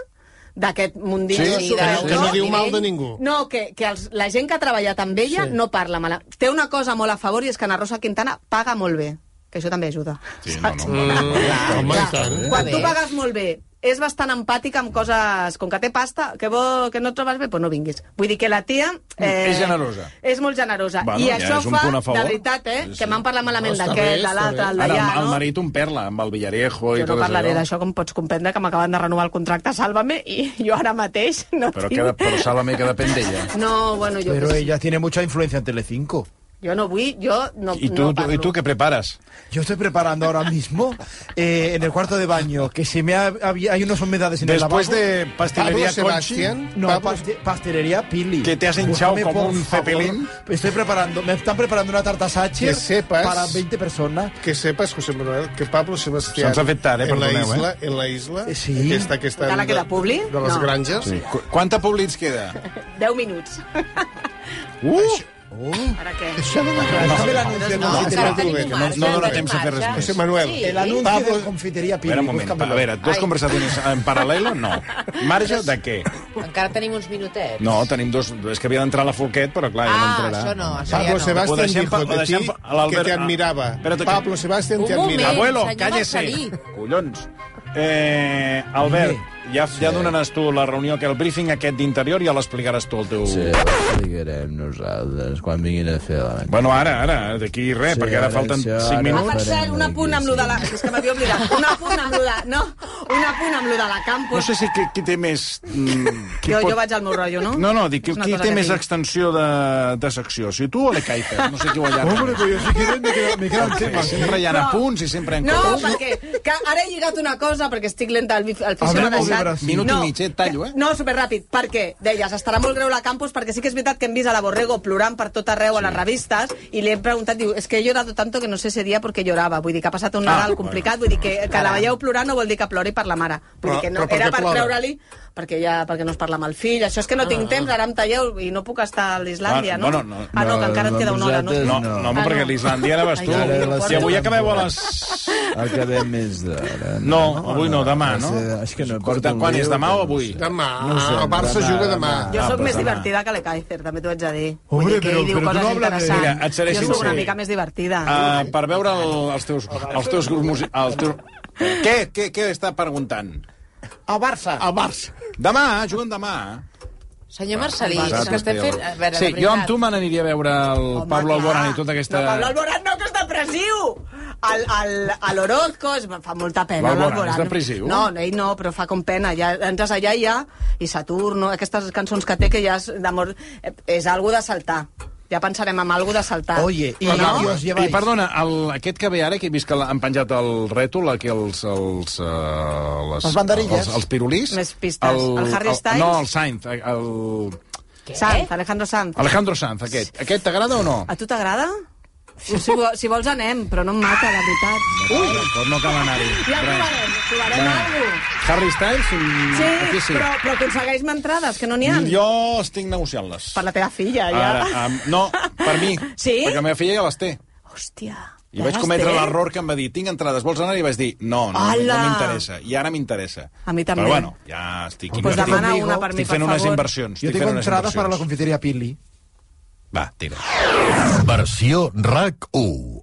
d'aquest mundillo.
Sí,
i
sí,
de-
sí, que no diu mal de ningú.
No, que, que els, la gent que ha treballat amb ella
Sí.
no parla mal. Té una cosa molt a favor i és que Ana Rosa Quintana paga molt bé, que això també ajuda.
Sí, no, no,
Mm,
no, no, no,
home,
no,
i tant.
no, no,
Quan
no.
tu pagues molt bé, és bastant empàtica amb coses... Com que té pasta, que, bo, que no et trobes bé, doncs no vinguis. Vull dir que la tia...
Mm,
eh,
És generosa.
És molt generosa.
Bueno,
I
ja
això
és un
fa,
punt a favor.
de veritat, eh,
Sí, sí.
que m'han parlat malament
No, està
d'aquest,
bé,
de l'altre,
està
el
Ara,
d'allà,
el, el
no?
marit un perla, amb el Villarejo i
Jo no
tot
parlaré
això.
d'això, com pots comprendre, que m'acaben de renovar el contracte a Sálvame i jo ara mateix no
Però,
tinc...
queda, però Salva que depèn d'ella.
No, bueno, jo...
Pero
què sé.
ella tiene mucha influencia en Telecinco.
Jo no vull, jo no,
¿Y tú,
no
tú-
parlo.
¿Y tú qué preparas?
Yo estoy preparando ahora mismo eh, en el cuarto de baño que se me ha, había- hay unas humedades en
Después
el lavabo.
de pastelería Pablo Conchi, Sebastián,
no,
Pablo-
paste- pastelería Pili.
Que te has hinchado
Búscame,
como
por
un
favor.
cepelín.
Estoy preparando, me están preparando una tarta
Que
Sacher
sepas-
para 20 personas.
Que sepas, José Manuel, que Pablo Sebastián...
Se'ns ha fet tard, eh,
en la
perdoneu,
isla,
eh?
En la isla,
Sí.
aquesta que està...
Encara queda publi?
De les
No.
granges.
Sí. Qu- Quanta publi ens queda?
10 minuts.
Uh!
Ara què?
Això no m'agrada.
Déjame el
No,
anuncio.
no,
no,
encara
no,
tenim
no,
no
marxa,
dona
encara
temps
tenim
a fer res
marxa.
més.
José Manuel.
Sí.
El anuncio
Pablo-
de confitería Pili.
Espera un moment,
búscamelo.
a veure, dos conversacions en paral·lelo, no. Marge de què?
Encara tenim uns minutets.
No, tenim dos... És que havia d'entrar la Folquet, però clar, ja no eh?
Ah,
entrarà.
això no, això
Pablo
ja no.
Sebastián
Sebastián
dijo
dijo de
de
ti
ti
que te
ah,
admiraba.
espérate que-
Pablo Sebastián te
Un moment.
admiraba.
Abuelo,
senyor
cállese.
Marcelí.
Collons. Eh, Albert, ja, ja donaràs tu la reunió, que el briefing aquest d'interior ja l'explicaràs tu al teu...
Sí, ho explicarem nosaltres quan vinguin a fer la venda.
Bueno, ara, eh? ara, d'aquí res,
Sí,
perquè ara
ara,
falten
això,
5
ara.
Ah,
minuts.
per cert, un apunt amb lo de la... És que m'havia oblidat. Un apunt amb lo de... No, un apunt amb lo de la campus.
No sé si qui, qui té més... mm, Qui
jo, jo vaig al meu rotllo, no?
No, no, dic, qui,
És una
qui
cosa
té
que
més
tinc.
extensió de, de secció, si tu o l'Ecaifer, no sé qui ho
Hombre,
allarga.
pues yo sí que me quedan, me
Pues
quedan
Perquè
temas.
Sempre hi ha
No.
apunts i sempre hi ha
No,
coses.
perquè que ara he lligat una cosa, perquè estic lenta, el, bif- el Fisio
Hablem
m'ha
de
deixat.
Brasil.
Minut i mig, eh? Tallo, eh?
No, superràpid, perquè, deies, estarà molt greu la Campos, perquè sí que és veritat que hem vist a la Borrego plorant per tot arreu a les revistes, i li hem preguntat, diu, és es que he llorado tanto que no sé ese día porque lloraba, vull dir que ha passat
Ah,
un Nadal complicat, vull dir que, que la veieu plorant no vol dir que plori per la mare, vull dir que no,
Però- però per
era
què
per
plora?
treure-li, perquè, ja, perquè no es parla amb el fill, això és que no tinc temps, ara em talleu i no puc estar a l'Islàndia,
Ah,
no?
bueno, no.
Ah, no, que
No,
encara et queda una hora, no?
nosaltres
No,
No.
no,
Ah,
perquè
no.
l'Islàndia ara vas
Ai,
tu.
ara la
Si avui
setmana
acabeu a
entrant.
les...
Acabem més d'hora.
No, avui no, demà, no?
És que no
Quan,
porto un
quan és,
guió,
demà o
que no
avui?
sé.
Demà.
No ho sé,
el Barça
demà,
juga demà.
demà.
Jo
Ah,
sóc
però
més
demà.
divertida que l'Ekaizer, també t'ho haig de dir.
Hombre,
Vull dir que
però-
ell diu
però tu no
coses
hablas de-
interessants.
Mira, et seré
jo sóc una
sincer.
mica més divertida.
Uh, per veure el, els teus, els teus grups musicals... Els teus... Què, què, què està preguntant?
A Barça.
El Barça. Demà, eh, juguen demà.
Senyor Marcelí, és que
Vosaltres,
estem fent... A
tio.
veure,
sí,
de veritat.
jo amb tu me n'aniria a veure el Home, Pablo Alborán i tota aquesta...
No, Pablo Alborán no, que és depressiu! El, el, el Orozco es fa molta pena,
L'Alborán
l'Alborán.
és depressiu?
No, no, ell no, però fa com pena. Ja, entres allà i ja... I Saturno, aquestes cançons que té que ja és d'amor... eh, És algo de saltar. Ja pensarem en algo de saltar.
Oye, y,
no?
y os
I
lleváis.
perdona, el, aquest que ve ara, que he vist que l'han penjat el rètol, aquí els... els, uh, les,
Les banderilles.
Els, els pirulís.
Més pistes. El Harry Styles?
No, el Sainz. El...
Sanz, Alejandro Sanz.
Alejandro Sanz, aquest. Aquest t'agrada o no?
A tu t'agrada? Si, vo- si vols anem, però no em mata, la veritat. Ui!
Doncs no cal anar-hi.
Ja
Res.
trobarem, trobarem
Bueno.
alguna cosa.
Harry Styles? mm,
Sí,
aquí sí.
Però, però aconsegueix-me entrades, que no n'hi ha.
Jo estic negociant-les.
Per la teva filla, ja.
Ara, um, no, per mi.
Sí?
Perquè la meva filla ja les té.
Hòstia.
I vaig
ja les
cometre
té?
l'error que em va dir, tinc entrades, vols anar? I vaig dir, no, no, no
Ala.
m'interessa. I ara m'interessa.
A mi també.
Però bueno, ja estic...
Pues
invertint.
demana una per mi,
estic fent
per
unes
favor.
inversions.
Yo
estic
tengo
fent unes
entradas para la
inversions.
confitería Pili.
Va, tira.
Versió RAC 1.